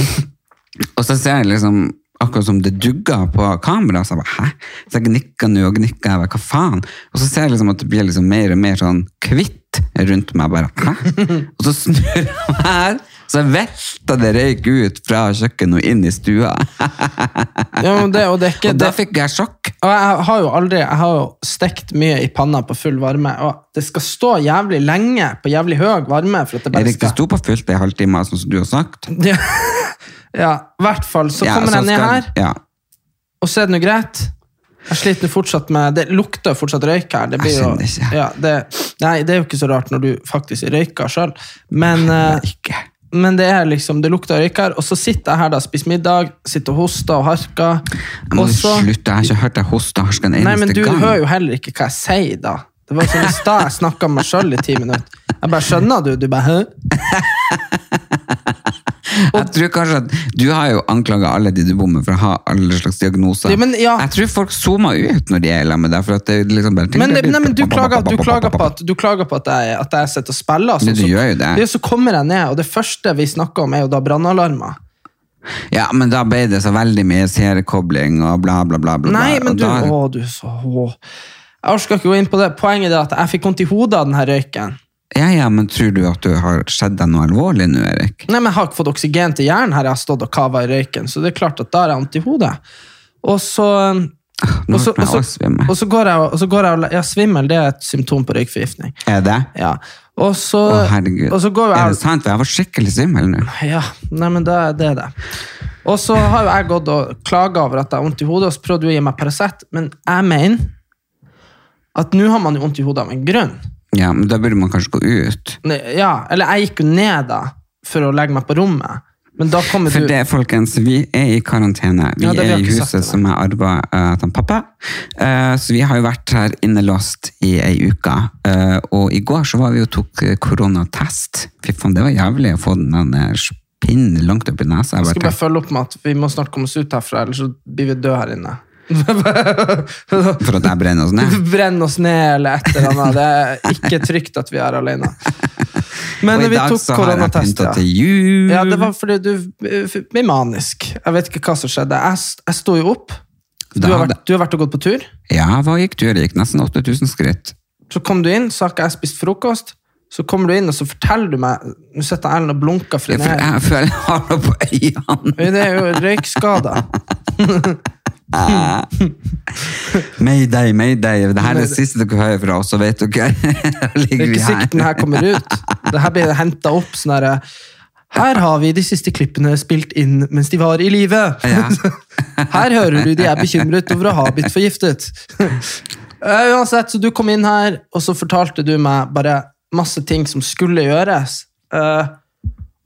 [SPEAKER 1] Og så ser jeg liksom, akkurat som det dugger på kamera, så jeg bare, hæ? Så jeg gnikker nå og gnikker, jeg bare, hva faen? Og så ser jeg liksom at det blir liksom mer og mer sånn kvitt rundt meg, bare, hæ? Og så snur jeg meg her, så velter det røyk ut fra kjøkkenet og inn i stua.
[SPEAKER 2] ja, men det, og det er ikke
[SPEAKER 1] Og
[SPEAKER 2] det-
[SPEAKER 1] da fikk jeg sjokk.
[SPEAKER 2] Og jeg har jo aldri Jeg har jo stekt mye i panna på full varme, og det skal stå jævlig lenge på jævlig høy varme for at det bare
[SPEAKER 1] Erik, det
[SPEAKER 2] skal
[SPEAKER 1] sto på fullt i halvtime, sånn som du har sagt.
[SPEAKER 2] Ja, ja i hvert fall. Så
[SPEAKER 1] Ja,
[SPEAKER 2] kommer jeg ned
[SPEAKER 1] skal-
[SPEAKER 2] her,
[SPEAKER 1] Ja.
[SPEAKER 2] og så er det nå greit. Jeg sliter fortsatt med Det lukter jo fortsatt røyk her. Det blir
[SPEAKER 1] Jeg
[SPEAKER 2] jo,
[SPEAKER 1] skjønner ikke.
[SPEAKER 2] Ja, det, nei, det er jo ikke så rart når du faktisk røyker sjøl, men eh, men det er liksom, det lukter røyk her, og så sitter jeg her da, spiser middag, sitter og hoster og harker.
[SPEAKER 1] Jeg må
[SPEAKER 2] og så-
[SPEAKER 1] slutte, jeg har ikke hørt deg hoste og harske en eneste
[SPEAKER 2] Nei, men du
[SPEAKER 1] gang.
[SPEAKER 2] hører jo heller ikke hva jeg sier, da. Det var sånn i stad jeg snakka med meg sjøl i ti minutter. Jeg bare skjønner du, du bare Hæ?
[SPEAKER 1] Jeg tror kanskje at du har jo anklaget alle de du bommer for å ha alle slags diagnoser.
[SPEAKER 2] Ja, men ja.
[SPEAKER 1] Jeg tror folk zoomer ut når de er sammen med deg, for at det er liksom bare...
[SPEAKER 2] Men, nei, men du klager, du klager på at, du klager på at jeg, at jeg sitter og spiller. sånn
[SPEAKER 1] Men du
[SPEAKER 2] så,
[SPEAKER 1] gjør jo det.
[SPEAKER 2] Ja, så kommer jeg ned, og det første vi snakker om, er jo da brannalarmer.
[SPEAKER 1] Ja, men da ble det så veldig mye seriekobling og bla bla bla bla. bla.
[SPEAKER 2] Nei, men
[SPEAKER 1] Og
[SPEAKER 2] du
[SPEAKER 1] da-
[SPEAKER 2] Å, du så å. Jeg orker ikke gå inn på det. Poenget er at jeg fikk vondt i hodet av den her røyken.
[SPEAKER 1] Ja, ja, men tror du at du har skjedd deg noe alvorlig nå, Erik?
[SPEAKER 2] Nei, men Jeg har ikke fått oksygen til hjernen her jeg har stått og kava i røyken, så det er klart at da har jeg vondt i hodet. Og så um,
[SPEAKER 1] Nå
[SPEAKER 2] Og så-
[SPEAKER 1] ble jeg
[SPEAKER 2] og så-
[SPEAKER 1] også svimmel.
[SPEAKER 2] Og så går jeg, og så går jeg og- Ja, svimmel det er et symptom på røykforgiftning.
[SPEAKER 1] Er det?
[SPEAKER 2] Ja. Og så,
[SPEAKER 1] Å, herregud.
[SPEAKER 2] og så går
[SPEAKER 1] Er det
[SPEAKER 2] jeg
[SPEAKER 1] sant? Jeg var skikkelig svimmel nå.
[SPEAKER 2] Ja, nei, men det, det er det. Og så har jo jeg gått og klaga over at jeg har vondt i hodet, og så prøvde du å gi meg Paracet, men jeg mener at nå har man jo vondt i hodet av en grunn.
[SPEAKER 1] Ja, men da burde man kanskje gå ut.
[SPEAKER 2] Ne- Ja, eller jeg gikk jo ned da for å legge meg på rommet, men da kommer
[SPEAKER 1] For
[SPEAKER 2] du
[SPEAKER 1] det, folkens, vi er i karantene. Vi
[SPEAKER 2] Ja, det har vi
[SPEAKER 1] er i
[SPEAKER 2] ikke sagt til
[SPEAKER 1] huset
[SPEAKER 2] deg.
[SPEAKER 1] som jeg arva av pappa. Eh, så vi har jo vært her innelåst i ei uke. Eh, og i går så var vi og tok eh, koronatest. Fy faen, det var jævlig å få den der pinnen langt opp i nesa.
[SPEAKER 2] Jeg
[SPEAKER 1] Jeg
[SPEAKER 2] skal
[SPEAKER 1] bare
[SPEAKER 2] bare følge opp med at vi må snart komme oss ut herfra, ellers så blir vi døde her inne.
[SPEAKER 1] tenkte, for at jeg brenner oss ned.
[SPEAKER 2] Brenn oss ned eller et eller annet. Det er ikke trygt at vi er alene. Men
[SPEAKER 1] og i
[SPEAKER 2] vi
[SPEAKER 1] dag
[SPEAKER 2] tok
[SPEAKER 1] så har jeg
[SPEAKER 2] koronatest,
[SPEAKER 1] pynta
[SPEAKER 2] ja.
[SPEAKER 1] til jul.
[SPEAKER 2] ja. Det var fordi du eh, ble manisk. Jeg vet ikke hva som skjedde. Jeg, s- jeg sto jo opp. Du
[SPEAKER 1] Da
[SPEAKER 2] har,
[SPEAKER 1] hadde-
[SPEAKER 2] vært, du har vært og gått på tur.
[SPEAKER 1] ja, hva gikk tur? Jeg gikk nesten 8000 skritt.
[SPEAKER 2] Så kom du inn, så har ikke jeg spist frokost. Så kommer du inn, og så forteller du meg Nå sitter Ellen og blunker
[SPEAKER 1] Jeg føler
[SPEAKER 2] frenert.
[SPEAKER 1] jeg, føler jeg har noe på øynene.
[SPEAKER 2] Det er jo røykskader.
[SPEAKER 1] Mayday, mayday. Det her er det siste dere hører fra oss, så vet dere.
[SPEAKER 2] Det
[SPEAKER 1] Ligger
[SPEAKER 2] er
[SPEAKER 1] vi
[SPEAKER 2] ikke sikkert den
[SPEAKER 1] her.
[SPEAKER 2] her kommer ut. Det her blir henta opp sånn herre Her har vi de siste klippene spilt inn mens de var i live.
[SPEAKER 1] Ja.
[SPEAKER 2] Her hører du de er bekymret over å ha blitt forgiftet. Eh, Uansett, så du kom inn her, og så fortalte du meg bare masse ting som skulle gjøres. Eh,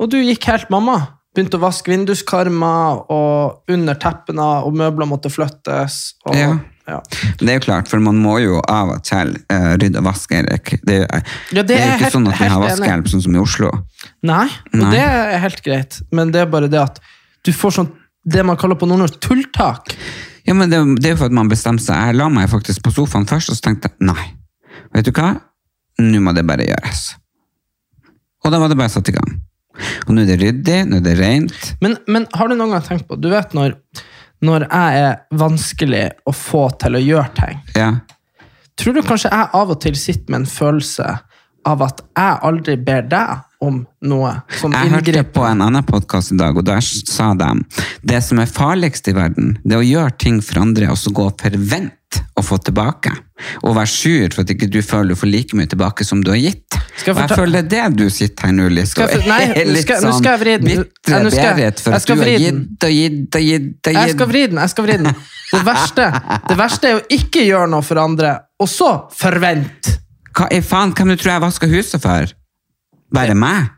[SPEAKER 2] og du gikk helt mamma. Begynte å vaske vinduskarmer, og under teppene, og møbler måtte flyttes. Og,
[SPEAKER 1] Ja.
[SPEAKER 2] Ja.
[SPEAKER 1] Det er jo klart, for man må jo av og til eh, rydde og vaske, Erik. Det, er-
[SPEAKER 2] Ja, det
[SPEAKER 1] det er
[SPEAKER 2] er
[SPEAKER 1] jo ikke
[SPEAKER 2] helt-
[SPEAKER 1] sånn at vi
[SPEAKER 2] helt
[SPEAKER 1] har
[SPEAKER 2] enig.
[SPEAKER 1] vaskehjelp, sånn som i Oslo.
[SPEAKER 2] Nei, og
[SPEAKER 1] Nei.
[SPEAKER 2] det er helt greit, men det er bare det at du får sånn det man kaller på nordnorsk tulltak.
[SPEAKER 1] Ja, men det, det er jo for at man bestemmer seg. Jeg la meg faktisk på sofaen først, og så tenkte jeg nei. Vet du hva? Nå må det bare gjøres. Og da var det bare satt i gang. Og nå er det ryddig, nå er det rent.
[SPEAKER 2] Men, men har du noen gang tenkt på Du vet når, når jeg er vanskelig å få til å gjøre ting
[SPEAKER 1] Ja.
[SPEAKER 2] Tror du kanskje jeg av og til sitter med en følelse av at jeg aldri ber deg om noe som
[SPEAKER 1] Jeg hørte
[SPEAKER 2] inngrep?
[SPEAKER 1] på en annen podkast i dag, og der sa de det som er farligst i verden, det er å gjøre ting for andre og så gå og forvente å få tilbake. Og være sur for at ikke du føler du får like mye tilbake som du har gitt.
[SPEAKER 2] Skal jeg
[SPEAKER 1] og jeg
[SPEAKER 2] fortel-
[SPEAKER 1] føler det er det du sitter her nå, Lise.
[SPEAKER 2] Skal jeg for- nei, nå skal- nå skal jeg vri den.
[SPEAKER 1] bitre
[SPEAKER 2] Nei, nå skal jeg-
[SPEAKER 1] Berit for
[SPEAKER 2] jeg
[SPEAKER 1] at
[SPEAKER 2] skal
[SPEAKER 1] du har
[SPEAKER 2] vri den.
[SPEAKER 1] gitt og gitt og gitt og
[SPEAKER 2] Jeg skal
[SPEAKER 1] gitt.
[SPEAKER 2] vri den. jeg skal vri den. Det verste, det verste er å ikke gjøre noe for andre, og så forvente.
[SPEAKER 1] Hva i faen, hvem du tror jeg vasker huset for? Bare meg?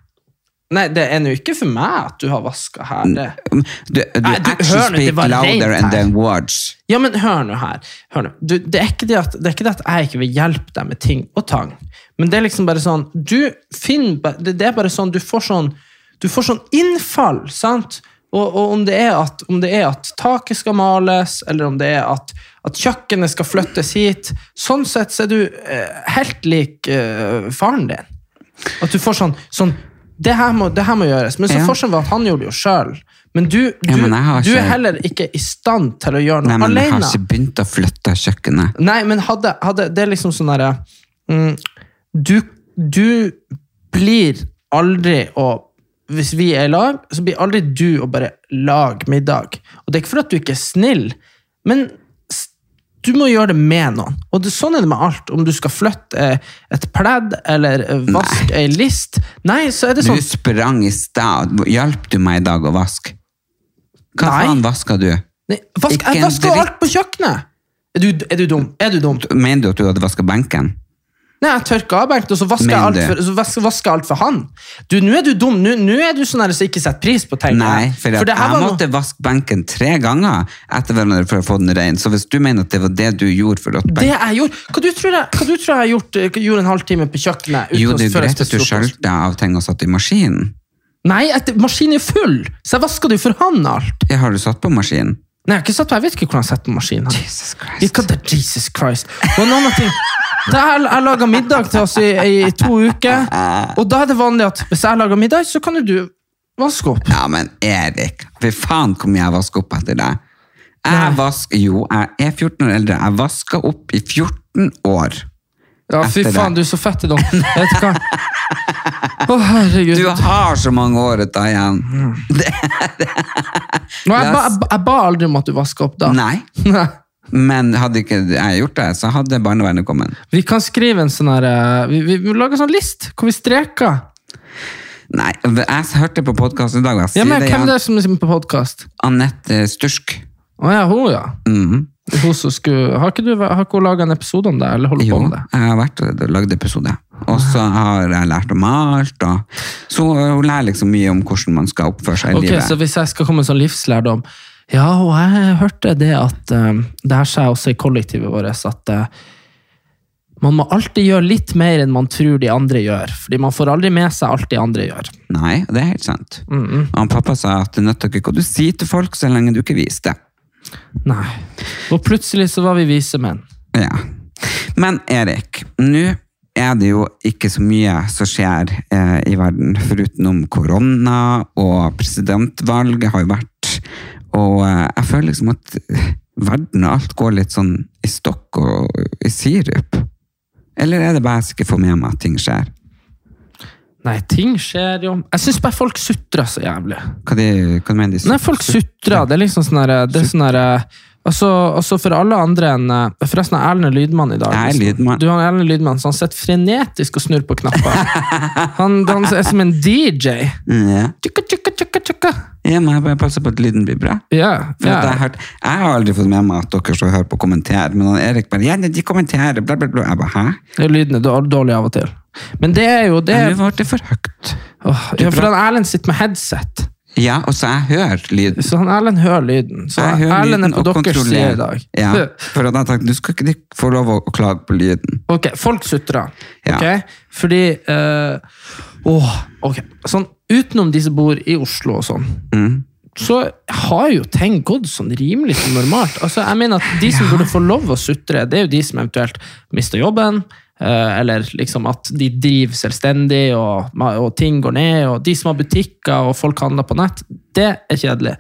[SPEAKER 2] Nei, det er nå ikke for meg at du har vaska her. Det.
[SPEAKER 1] Du, du,
[SPEAKER 2] Nei, du,
[SPEAKER 1] action
[SPEAKER 2] hør nå, det
[SPEAKER 1] speak
[SPEAKER 2] var rent
[SPEAKER 1] louder
[SPEAKER 2] her.
[SPEAKER 1] and then words.
[SPEAKER 2] Ja, men hør nå her. Hør nå. Du, det, er ikke det, at, det er ikke det at jeg ikke vil hjelpe deg med ting og tang, men det er liksom bare sånn Du finner ba- Det, det er bare sånn Du får sånn, du får sånn innfall, sant? Og, og om, det er at, om det er at taket skal males, eller om det er at, at kjøkkenet skal flyttes hit Sånn sett så er du eh, helt lik eh, faren din. At du får sånn, sånn det her, må, det her må gjøres. Men så
[SPEAKER 1] Ja.
[SPEAKER 2] forskjellen var at han gjorde det jo sjøl. Men du, du,
[SPEAKER 1] Ja, men jeg har
[SPEAKER 2] du er
[SPEAKER 1] ikke-
[SPEAKER 2] heller ikke i stand til å gjøre noe
[SPEAKER 1] Nei, men jeg har
[SPEAKER 2] alene.
[SPEAKER 1] ikke begynt å flytte kjøkkenet.
[SPEAKER 2] Nei, men hadde, hadde Det er liksom sånn derre mm, du, du blir aldri å Hvis vi er i lag, så blir aldri du å bare lage middag. Og det er ikke fordi at du ikke er snill, men s- du må gjøre det med noen. Og det, sånn er det med alt. Om du skal flytte eh, et pledd eller eh, vaske ei list Nei, så er det
[SPEAKER 1] Du
[SPEAKER 2] sånn
[SPEAKER 1] sprang i stad. Hjalp du meg i dag å vaske? Hva
[SPEAKER 2] Nei.
[SPEAKER 1] faen vaska du?
[SPEAKER 2] nei, vask,
[SPEAKER 1] ikke
[SPEAKER 2] Jeg
[SPEAKER 1] en
[SPEAKER 2] vasker jo
[SPEAKER 1] dritt.
[SPEAKER 2] alt på kjøkkenet! Er du, er du dum? Er du dum?
[SPEAKER 1] Mener du at du hadde vaska benken?
[SPEAKER 2] Nei, jeg tørker av benken, og så vasker jeg
[SPEAKER 1] Men
[SPEAKER 2] alt
[SPEAKER 1] det-
[SPEAKER 2] for, så vasker, vasker jeg alt for han. Du, Nå er du dum. Nå nå er du sånn her som ikke setter pris på ting.
[SPEAKER 1] Nei, for,
[SPEAKER 2] det her
[SPEAKER 1] jeg
[SPEAKER 2] var noe-
[SPEAKER 1] måtte vaske benken tre ganger etter hverandre for å få den ren. Så hvis du mener at det var det du gjorde for at
[SPEAKER 2] Det
[SPEAKER 1] benken
[SPEAKER 2] jeg gjorde, hva du tror jeg, hva du tror jeg har gjort, eh, gjorde en halvtime på kjøkkenet? uten
[SPEAKER 1] Jo,
[SPEAKER 2] å-
[SPEAKER 1] det er jo
[SPEAKER 2] før jeg
[SPEAKER 1] greit at
[SPEAKER 2] spiste
[SPEAKER 1] du
[SPEAKER 2] frokost?
[SPEAKER 1] skjølte av ting og satt i maskinen.
[SPEAKER 2] Nei, et, maskinen er full, så jeg vasker det jo for han alt.
[SPEAKER 1] Ja, har du satt på maskinen?
[SPEAKER 2] Nei, jeg har ikke satt, jeg vet ikke hvordan jeg setter på maskinen. her.
[SPEAKER 1] Jesus
[SPEAKER 2] Ja,
[SPEAKER 1] Christ.
[SPEAKER 2] Hva det er Jesus Christ? Og en annen ting. Da jeg, jeg laga middag til oss i, i to uker, og da er det vanlig at hvis jeg lager middag, så kan jo du vaske opp.
[SPEAKER 1] Ja, men Erik, fy faen hvor mye jeg vasker opp etter deg. Jeg
[SPEAKER 2] Nei.
[SPEAKER 1] vasker, jo, jeg er 14 år eldre. Jeg vasker opp i 14 år.
[SPEAKER 2] Ja, fy
[SPEAKER 1] Etter det.
[SPEAKER 2] faen, du er så fett i dag. Vet du hva? Å, herregud.
[SPEAKER 1] Du har så mange år etter igjen.
[SPEAKER 2] Nå, jeg, ba, jeg, ba, jeg ba aldri om at du vasker opp da.
[SPEAKER 1] Nei,
[SPEAKER 2] Nei.
[SPEAKER 1] men hadde ikke jeg gjort det, så hadde barnevernet kommet.
[SPEAKER 2] Vi kan skrive en sånn her eh, Vi, vi, vi lager en sånn list hvor vi streker.
[SPEAKER 1] Nei, jeg hørte på podkasten i dag, og jeg
[SPEAKER 2] Ja,
[SPEAKER 1] sier
[SPEAKER 2] men
[SPEAKER 1] det
[SPEAKER 2] Hvem
[SPEAKER 1] igjen.
[SPEAKER 2] det er som er på podkast?
[SPEAKER 1] Anette Stursk.
[SPEAKER 2] Å ja, hun, ja.
[SPEAKER 1] Mhm.
[SPEAKER 2] Hun som skulle Har ikke, du, har ikke hun laga en episode om det? Eller holder
[SPEAKER 1] Jo,
[SPEAKER 2] på med det?
[SPEAKER 1] jeg har vært og lagd episode. Og så
[SPEAKER 2] Ah.
[SPEAKER 1] har jeg lært om alt. Og så hun lærer liksom mye om hvordan man skal oppføre seg i
[SPEAKER 2] Ok,
[SPEAKER 1] livet.
[SPEAKER 2] så hvis jeg skal komme med en sånn livslærdom Ja, og jeg hørte det at eh, Det her sa jeg også i kollektivet vårt at eh, man må alltid gjøre litt mer enn man tror de andre gjør. Fordi man får aldri med seg alt de andre gjør.
[SPEAKER 1] Nei, det er helt sant.
[SPEAKER 2] Mm,
[SPEAKER 1] Og han pappa sa at det nytter ikke hva du sier til folk, så lenge du ikke viser det.
[SPEAKER 2] Nei. Og plutselig så var vi vise menn.
[SPEAKER 1] Ja. Men Erik, nå er det jo ikke så mye som skjer eh, i verden, foruten om korona og presidentvalget har jo vært. Og eh, jeg føler liksom at verden og alt går litt sånn i stokk og i sirup. Eller er det bare jeg som ikke får med meg at ting skjer?
[SPEAKER 2] Nei, ting skjer jo. Jeg syns bare folk sutrer så jævlig.
[SPEAKER 1] Hva, de, hva mener de?
[SPEAKER 2] Nei, folk sutrer. Det er liksom sånn herre Det er sånn herre Altså, altså for alle andre enn eh, Forresten er Erlend Lydmann i dag. liksom.
[SPEAKER 1] Jeg er lydmann.
[SPEAKER 2] Du har Erlend Lydmann, så han sitter frenetisk og snurrer på knapper. Han, han er som en DJ.
[SPEAKER 1] Ja.
[SPEAKER 2] Tjukka, tjukka, tjukka, tjukka.
[SPEAKER 1] ja, men jeg bare passer på at lyden blir bra.
[SPEAKER 2] Ja,
[SPEAKER 1] For at jeg,
[SPEAKER 2] ja.
[SPEAKER 1] har hørt, jeg har aldri fått med meg at dere som hører på, kommenterer. Men han Erik bare ja, de kommenterer, bla, bla, bla. Jeg bare, hæ?
[SPEAKER 2] Ja, Lyden er dår- dårlig av og til. Men det er jo det
[SPEAKER 1] Men Nå ble det for høyt.
[SPEAKER 2] Åh, ja, For han Erlend sitter med headset,
[SPEAKER 1] Ja, og så jeg hører lyden.
[SPEAKER 2] så han Erlend hører lyden. Så
[SPEAKER 1] Jeg hører
[SPEAKER 2] Erlend er
[SPEAKER 1] lyden
[SPEAKER 2] på
[SPEAKER 1] og
[SPEAKER 2] deres side
[SPEAKER 1] kontrollerer.
[SPEAKER 2] i dag.
[SPEAKER 1] Ja, for at jeg tenkte, du skal ikke de få lov å klage på lyden.
[SPEAKER 2] Ok, folk sutrer.
[SPEAKER 1] Ja.
[SPEAKER 2] ok? Fordi eh, Åh, ok. Sånn, utenom de som bor i Oslo og sånn, så har jo ting gått sånn rimelig som normalt. Altså, jeg mener at De som burde få lov å sutre, det er jo de som eventuelt mister jobben, Eh, Eller liksom at de driver selvstendig, og, og ting går ned. og De som har butikker og folk handler på nett, det er kjedelig.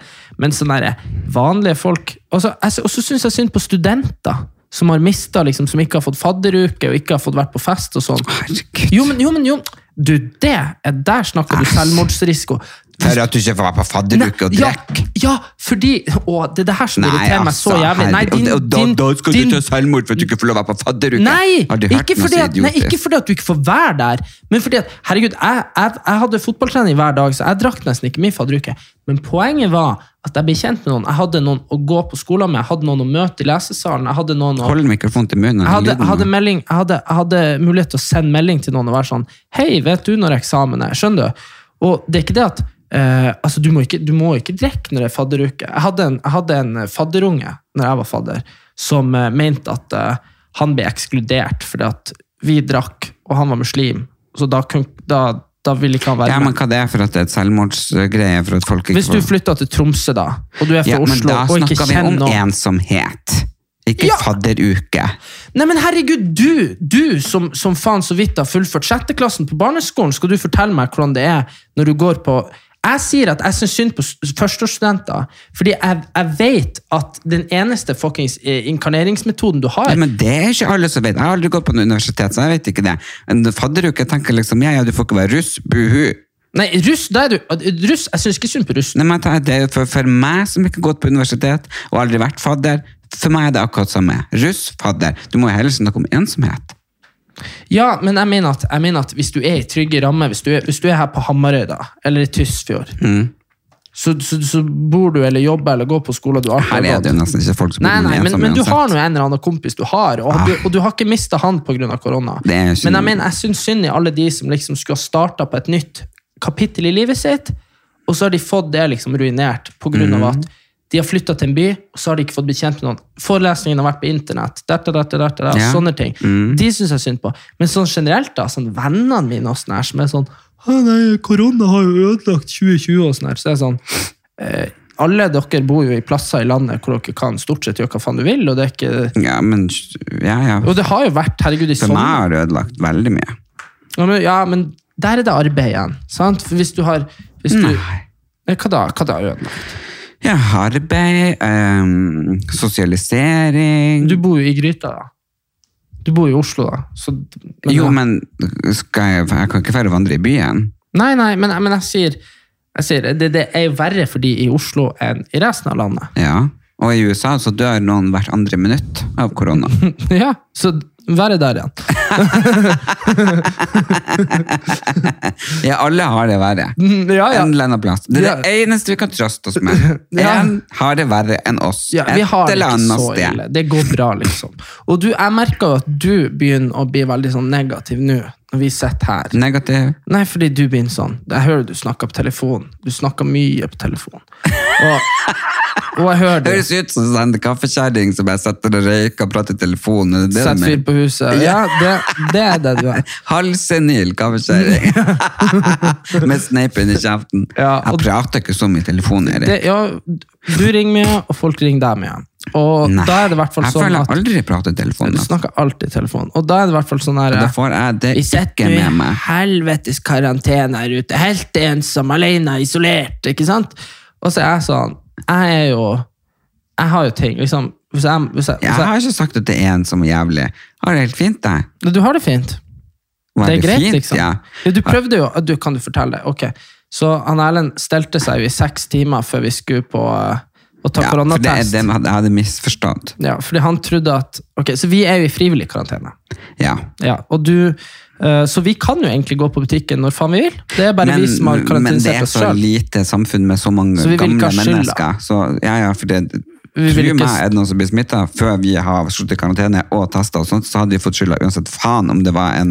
[SPEAKER 2] Men sånn der, vanlige folk Og så jeg- og så syns jeg synd på studenter. Som har mistet, liksom, som ikke har fått fadderuke og ikke har fått vært på fest. og sånn.
[SPEAKER 1] Herregud.
[SPEAKER 2] Jo, men jo, men jo. Du, det er Der snakker du
[SPEAKER 1] Æsj.
[SPEAKER 2] selvmordsrisiko.
[SPEAKER 1] Hører at du ikke får være på fadderuke og
[SPEAKER 2] ja,
[SPEAKER 1] drikke.
[SPEAKER 2] ja, fordi Å, det er det her som irriterer meg så jævlig. Nei,
[SPEAKER 1] altså, herregud. Og da, da skal du ta selvmord for at du ikke får lov å være på fadderuke.
[SPEAKER 2] Nei,
[SPEAKER 1] Har du hørt
[SPEAKER 2] ikke
[SPEAKER 1] noe
[SPEAKER 2] fordi,
[SPEAKER 1] så
[SPEAKER 2] at, nei,
[SPEAKER 1] idiotisk?
[SPEAKER 2] ikke fordi at du ikke får være der, men fordi at herregud, jeg, jeg, jeg hadde fotballtrening hver dag, så jeg drakk nesten ikke min fadderuke. Men poenget var at jeg ble kjent med noen. Jeg hadde noen å gå på skolen med, jeg hadde noen å møte i lesesalen. jeg hadde noen å...
[SPEAKER 1] Hold mikrofonen til munnen.
[SPEAKER 2] Jeg hadde, jeg,
[SPEAKER 1] lyden
[SPEAKER 2] hadde
[SPEAKER 1] må-
[SPEAKER 2] melding, jeg, hadde, jeg hadde mulighet til å sende melding til noen og være sånn Hei, vet du når eksamen er? Skjønner du? Og det er ikke det at eh, altså, du, må ikke, du må ikke drikke når det er fadderuke. Jeg hadde en, jeg hadde en eh, fadderunge når jeg var fadder, som eh, mente at eh, han ble ekskludert fordi at vi drakk, og han var muslim. Så da, kun, da, da ville ikke han være
[SPEAKER 1] Ja,
[SPEAKER 2] med.
[SPEAKER 1] men hva det er for at det er et selvmordsgreie for at folk ikke
[SPEAKER 2] Hvis du flytter til Tromsø, da, og du er fra
[SPEAKER 1] ja, men
[SPEAKER 2] Oslo
[SPEAKER 1] da
[SPEAKER 2] og ikke
[SPEAKER 1] snakker vi
[SPEAKER 2] kjenner
[SPEAKER 1] om
[SPEAKER 2] noen
[SPEAKER 1] ensomhet. Ikke
[SPEAKER 2] Ja.
[SPEAKER 1] fadderuke.
[SPEAKER 2] Nei, men herregud, du, du som, som faen så vidt har fullført sjetteklassen på barneskolen, skal du fortelle meg hvordan det er når du går på Jeg sier at jeg syns synd på s- førsteårsstudenter, fordi jeg, jeg vet at den eneste fuckings eh, inkarneringsmetoden du har
[SPEAKER 1] Ja, men det er ikke alle som vet. Jeg har aldri gått på noe universitet, så jeg vet ikke det. En fadderuke jeg tenker liksom, ja, ja, du får ikke være russ, buhu.
[SPEAKER 2] Nei, russ, da er du eh, Russ, Jeg syns ikke synd på russen.
[SPEAKER 1] Nei, men jeg tar- det er for, for meg som ikke har gått på universitet og aldri vært fadder, for meg er det akkurat samme. Russ, fadder. Du må jo heller snakke om ensomhet.
[SPEAKER 2] Ja, men jeg mener, at, jeg mener at hvis du er i trygge rammer, hvis du er, hvis du er her på Hamarøy da, eller i Tysfjord,
[SPEAKER 1] Mm.
[SPEAKER 2] så, så, så bor du eller jobber eller går på skolen du alltid
[SPEAKER 1] Her
[SPEAKER 2] har
[SPEAKER 1] er
[SPEAKER 2] gått.
[SPEAKER 1] det jo nesten ikke folk som
[SPEAKER 2] Nei,
[SPEAKER 1] blir
[SPEAKER 2] nei, men,
[SPEAKER 1] ensomme
[SPEAKER 2] men du
[SPEAKER 1] uansett.
[SPEAKER 2] har nå en eller annen kompis du har, og, du, og du har ikke mista han pga. korona.
[SPEAKER 1] Det er ikke-
[SPEAKER 2] Men jeg mener, jeg syns synd i alle de som liksom skulle ha starta på et nytt kapittel i livet sitt, og så har de fått det liksom ruinert pga. av
[SPEAKER 1] Mm.
[SPEAKER 2] at de har flytta til en by, og så har de ikke fått bli kjent med noen. Forelesningen har vært på internett. Dette, dette, dette, dette,
[SPEAKER 1] Ja. Mm.
[SPEAKER 2] Sånne ting. De syns jeg synd på. Men sånn generelt, da, sånn vennene mine og sånn her, som er sånn «Å, nei, Korona har jo ødelagt 2020 og sånn her. Så er jeg sånn eh, alle dere bor jo i plasser i landet hvor dere kan stort sett gjøre hva faen du vil. Og det, er ikke,
[SPEAKER 1] Ja, men ja, ja.
[SPEAKER 2] og sånn- det har jo vært herregud i
[SPEAKER 1] For meg
[SPEAKER 2] sommer.
[SPEAKER 1] har det ødelagt veldig mye.
[SPEAKER 2] Ja, men, ja, men der er det arbeid igjen. Sant? For hvis du har hvis du,
[SPEAKER 1] Nei.
[SPEAKER 2] Nei, Hva da? Hva da ødelagt?
[SPEAKER 1] Ja, arbeid, ehm, sosialisering
[SPEAKER 2] Du bor jo i Gryta, da. Du bor jo i Oslo, da. Så, men-
[SPEAKER 1] Jo, men skal jeg, jeg kan ikke dra og vandre i byen.
[SPEAKER 2] Nei, nei, men, men jeg sier, jeg sier det, det er jo verre for de i Oslo enn i resten av landet.
[SPEAKER 1] Ja. Og i USA så dør noen hvert andre minutt av korona.
[SPEAKER 2] Ja, Så verre der igjen.
[SPEAKER 1] Ja, alle har det verre.
[SPEAKER 2] Ja, ja.
[SPEAKER 1] En eller annen plass. Det er det eneste vi kan trøste oss med.
[SPEAKER 2] Ja.
[SPEAKER 1] En har det verre enn oss.
[SPEAKER 2] Ja, vi har det ikke så ille. Det går bra, liksom. Og du, jeg merker jo at du begynner å bli veldig sånn negativ nå, når vi sitter her.
[SPEAKER 1] Negativ.
[SPEAKER 2] Nei, fordi du begynner sånn. Jeg hører du snakker på telefonen. Du snakker mye på telefonen. Og, og jeg hører
[SPEAKER 1] Høres
[SPEAKER 2] du
[SPEAKER 1] ut som en sånn kaffekjerring som bare sitter og røyker og prater i telefonen. Det er
[SPEAKER 2] setter fyr
[SPEAKER 1] det
[SPEAKER 2] på huset. Ja, det, det er det du er.
[SPEAKER 1] Halvsenil kaffekjerring. Med sneipen i kjeften.
[SPEAKER 2] Ja, og-
[SPEAKER 1] Jeg prater ikke så mye i telefonen, Erik.
[SPEAKER 2] Det, ja, du ringer mye, og folk ringer deg mye. Og
[SPEAKER 1] Nei.
[SPEAKER 2] da er det i hvert fall
[SPEAKER 1] jeg
[SPEAKER 2] sånn
[SPEAKER 1] føler jeg
[SPEAKER 2] at
[SPEAKER 1] aldri prater i telefonen.
[SPEAKER 2] Du
[SPEAKER 1] altså.
[SPEAKER 2] snakker alltid i telefonen. Og da er det i hvert fall sånn her
[SPEAKER 1] Da får jeg det
[SPEAKER 2] Vi
[SPEAKER 1] ikke
[SPEAKER 2] sitter nå
[SPEAKER 1] med
[SPEAKER 2] i
[SPEAKER 1] meg.
[SPEAKER 2] helvetes karantene her ute, helt ensom, alene, isolert, ikke sant? Og så er jeg sånn, jeg er jo, jeg har jo ting, liksom, hvis jeg, hvis jeg,
[SPEAKER 1] Jeg
[SPEAKER 2] hvis jeg,
[SPEAKER 1] har ikke sagt at det er en som er jævlig. Har det helt fint, jeg.
[SPEAKER 2] du har det fint.
[SPEAKER 1] Var
[SPEAKER 2] Det er greit, liksom.
[SPEAKER 1] Ja.
[SPEAKER 2] Ja, du prøvde jo, du, kan du fortelle det? Ok, så han Erlend stelte seg jo i seks timer før vi skulle på, eh, å
[SPEAKER 1] Ja, for
[SPEAKER 2] ta
[SPEAKER 1] det er
[SPEAKER 2] koronatest.
[SPEAKER 1] det jeg hadde- jeg hadde misforstått.
[SPEAKER 2] Ja, fordi han trodde at, ok, så vi er jo i frivillig karantene.
[SPEAKER 1] Ja.
[SPEAKER 2] Ja, og du, eh, så vi kan jo egentlig gå på butikken når faen vi vil. Det er bare vi som har
[SPEAKER 1] men det
[SPEAKER 2] karantenisert
[SPEAKER 1] er
[SPEAKER 2] oss
[SPEAKER 1] så
[SPEAKER 2] selv.
[SPEAKER 1] lite samfunn med så mange
[SPEAKER 2] Så vi vil ikke
[SPEAKER 1] gamle
[SPEAKER 2] ha skylda.
[SPEAKER 1] mennesker. Så, ja, ja, for det,
[SPEAKER 2] Vi
[SPEAKER 1] Tro
[SPEAKER 2] vil ikke-
[SPEAKER 1] meg, er det noen som blir smitta før vi har sluttet i karantene og testa, og sånt, så hadde vi fått skylda uansett faen om det var en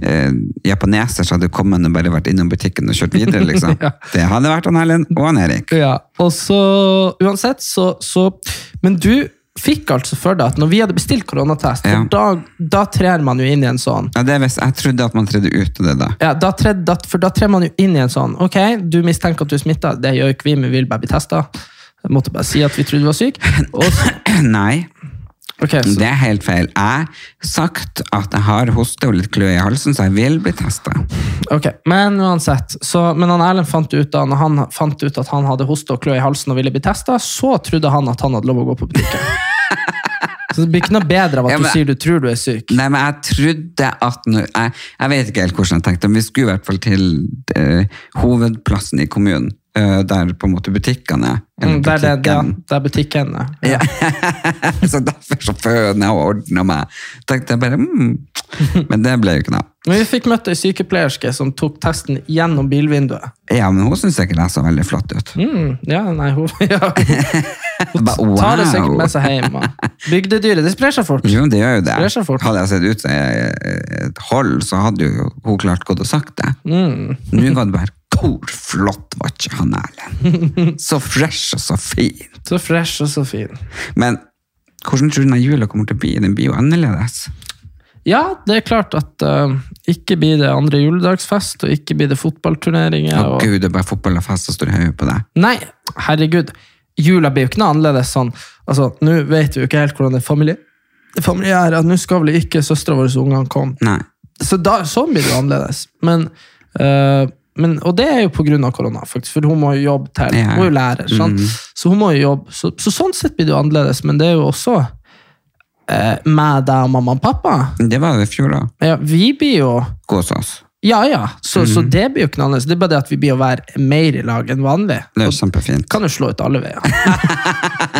[SPEAKER 1] eh, japaneser som hadde kommet og bare vært innom butikken og kjørt videre. liksom. Det hadde vært han Erlend og han Erik.
[SPEAKER 2] Ja, og så uansett, så, så Men du fikk altså for deg at når vi hadde bestilt koronatest,
[SPEAKER 1] Ja.
[SPEAKER 2] for da, da trer man jo inn i en sånn
[SPEAKER 1] Ja, det er hvis, jeg trodde at man tredde ut av det da.
[SPEAKER 2] ja, da trer, da, For da trer man jo inn i en sånn Ok, du mistenker at du er smitta, det gjør ikke vi, men vi vil bare bli testa. Jeg måtte bare si at vi trodde du var syk. Og, så-
[SPEAKER 1] Nei.
[SPEAKER 2] Ok, så
[SPEAKER 1] Det er helt feil. Jeg har sagt at jeg har hoste og litt klø i halsen, så jeg vil bli testa.
[SPEAKER 2] Ok, Men uansett, så, men han Erlend fant ut da når han fant ut at han hadde hoste og klø i halsen og ville bli testa, så trodde han at han hadde lov å gå på butikken. så det blir ikke noe bedre av at
[SPEAKER 1] Ja, men-
[SPEAKER 2] du sier du tror du er syk.
[SPEAKER 1] Nei, men jeg trodde at når, jeg, jeg vet ikke helt hvordan jeg tenkte, men vi skulle i hvert fall til eh, hovedplassen i kommunen, eh, der på en måte butikkene er. Eller
[SPEAKER 2] Mm, Det er det, det,
[SPEAKER 1] butikken.
[SPEAKER 2] det er butikken. ja.
[SPEAKER 1] Ja. så derfor så føner jeg og ordner meg. Tenkte jeg bare, mm. Men det ble jo ikke noe.
[SPEAKER 2] Men vi fikk møtt ei sykepleierske som tok testen gjennom bilvinduet.
[SPEAKER 1] Ja, men hun synes ikke det så veldig flott ut.
[SPEAKER 2] Mm, ja, nei, hun, ja. hun
[SPEAKER 1] Ba-
[SPEAKER 2] tar det sikkert
[SPEAKER 1] wow.
[SPEAKER 2] med seg hjem. og- Bygdedyret, det sprer seg fort.
[SPEAKER 1] Jo, det gjør jo det.
[SPEAKER 2] Sprer seg fort.
[SPEAKER 1] Hadde jeg sett ut som jeg- et hold, så hadde jo hun klart gått og sagt det.
[SPEAKER 2] Mm.
[SPEAKER 1] Nå var det bare, hvor flott var ikke han Erlend? Så fresh og så fin.
[SPEAKER 2] Så fresh og så fin.
[SPEAKER 1] Men hvordan tror du denne jula kommer til å bli? Den blir jo annerledes.
[SPEAKER 2] Ja, det er klart at eh, ikke blir det andre juledagsfest, og ikke blir det fotballturneringer.
[SPEAKER 1] Å
[SPEAKER 2] og...
[SPEAKER 1] gud, det er bare fotball og fest og står i høyet på deg.
[SPEAKER 2] Nei, herregud. Jula blir jo ikke noe annerledes sånn. Altså, Nå vet vi jo ikke helt hvordan det er familie. Det familie er at Nå skal vel ikke søstera vår og ungene komme.
[SPEAKER 1] Nei.
[SPEAKER 2] Så da, sånn blir det jo annerledes. Men, eh, men, og det er jo på grunn av korona, faktisk, for hun må jo jobbe til.
[SPEAKER 1] Ja. Mm.
[SPEAKER 2] Hun er jo lærer, sant? så hun må jo jobbe. Så, så sånn sett blir det jo annerledes, men det er jo også eh, med deg og mamma og pappa.
[SPEAKER 1] Det var jo i fjor da.
[SPEAKER 2] Ja, vi blir jo
[SPEAKER 1] Gå hos oss.
[SPEAKER 2] Ja, ja. Så, så
[SPEAKER 1] Mhm.
[SPEAKER 2] det blir jo ikke noe annerledes. Det er bare det at vi blir å være mer i lag enn vanlig.
[SPEAKER 1] Det er jo
[SPEAKER 2] Og
[SPEAKER 1] kjempefint.
[SPEAKER 2] kan jo slå ut alle veier.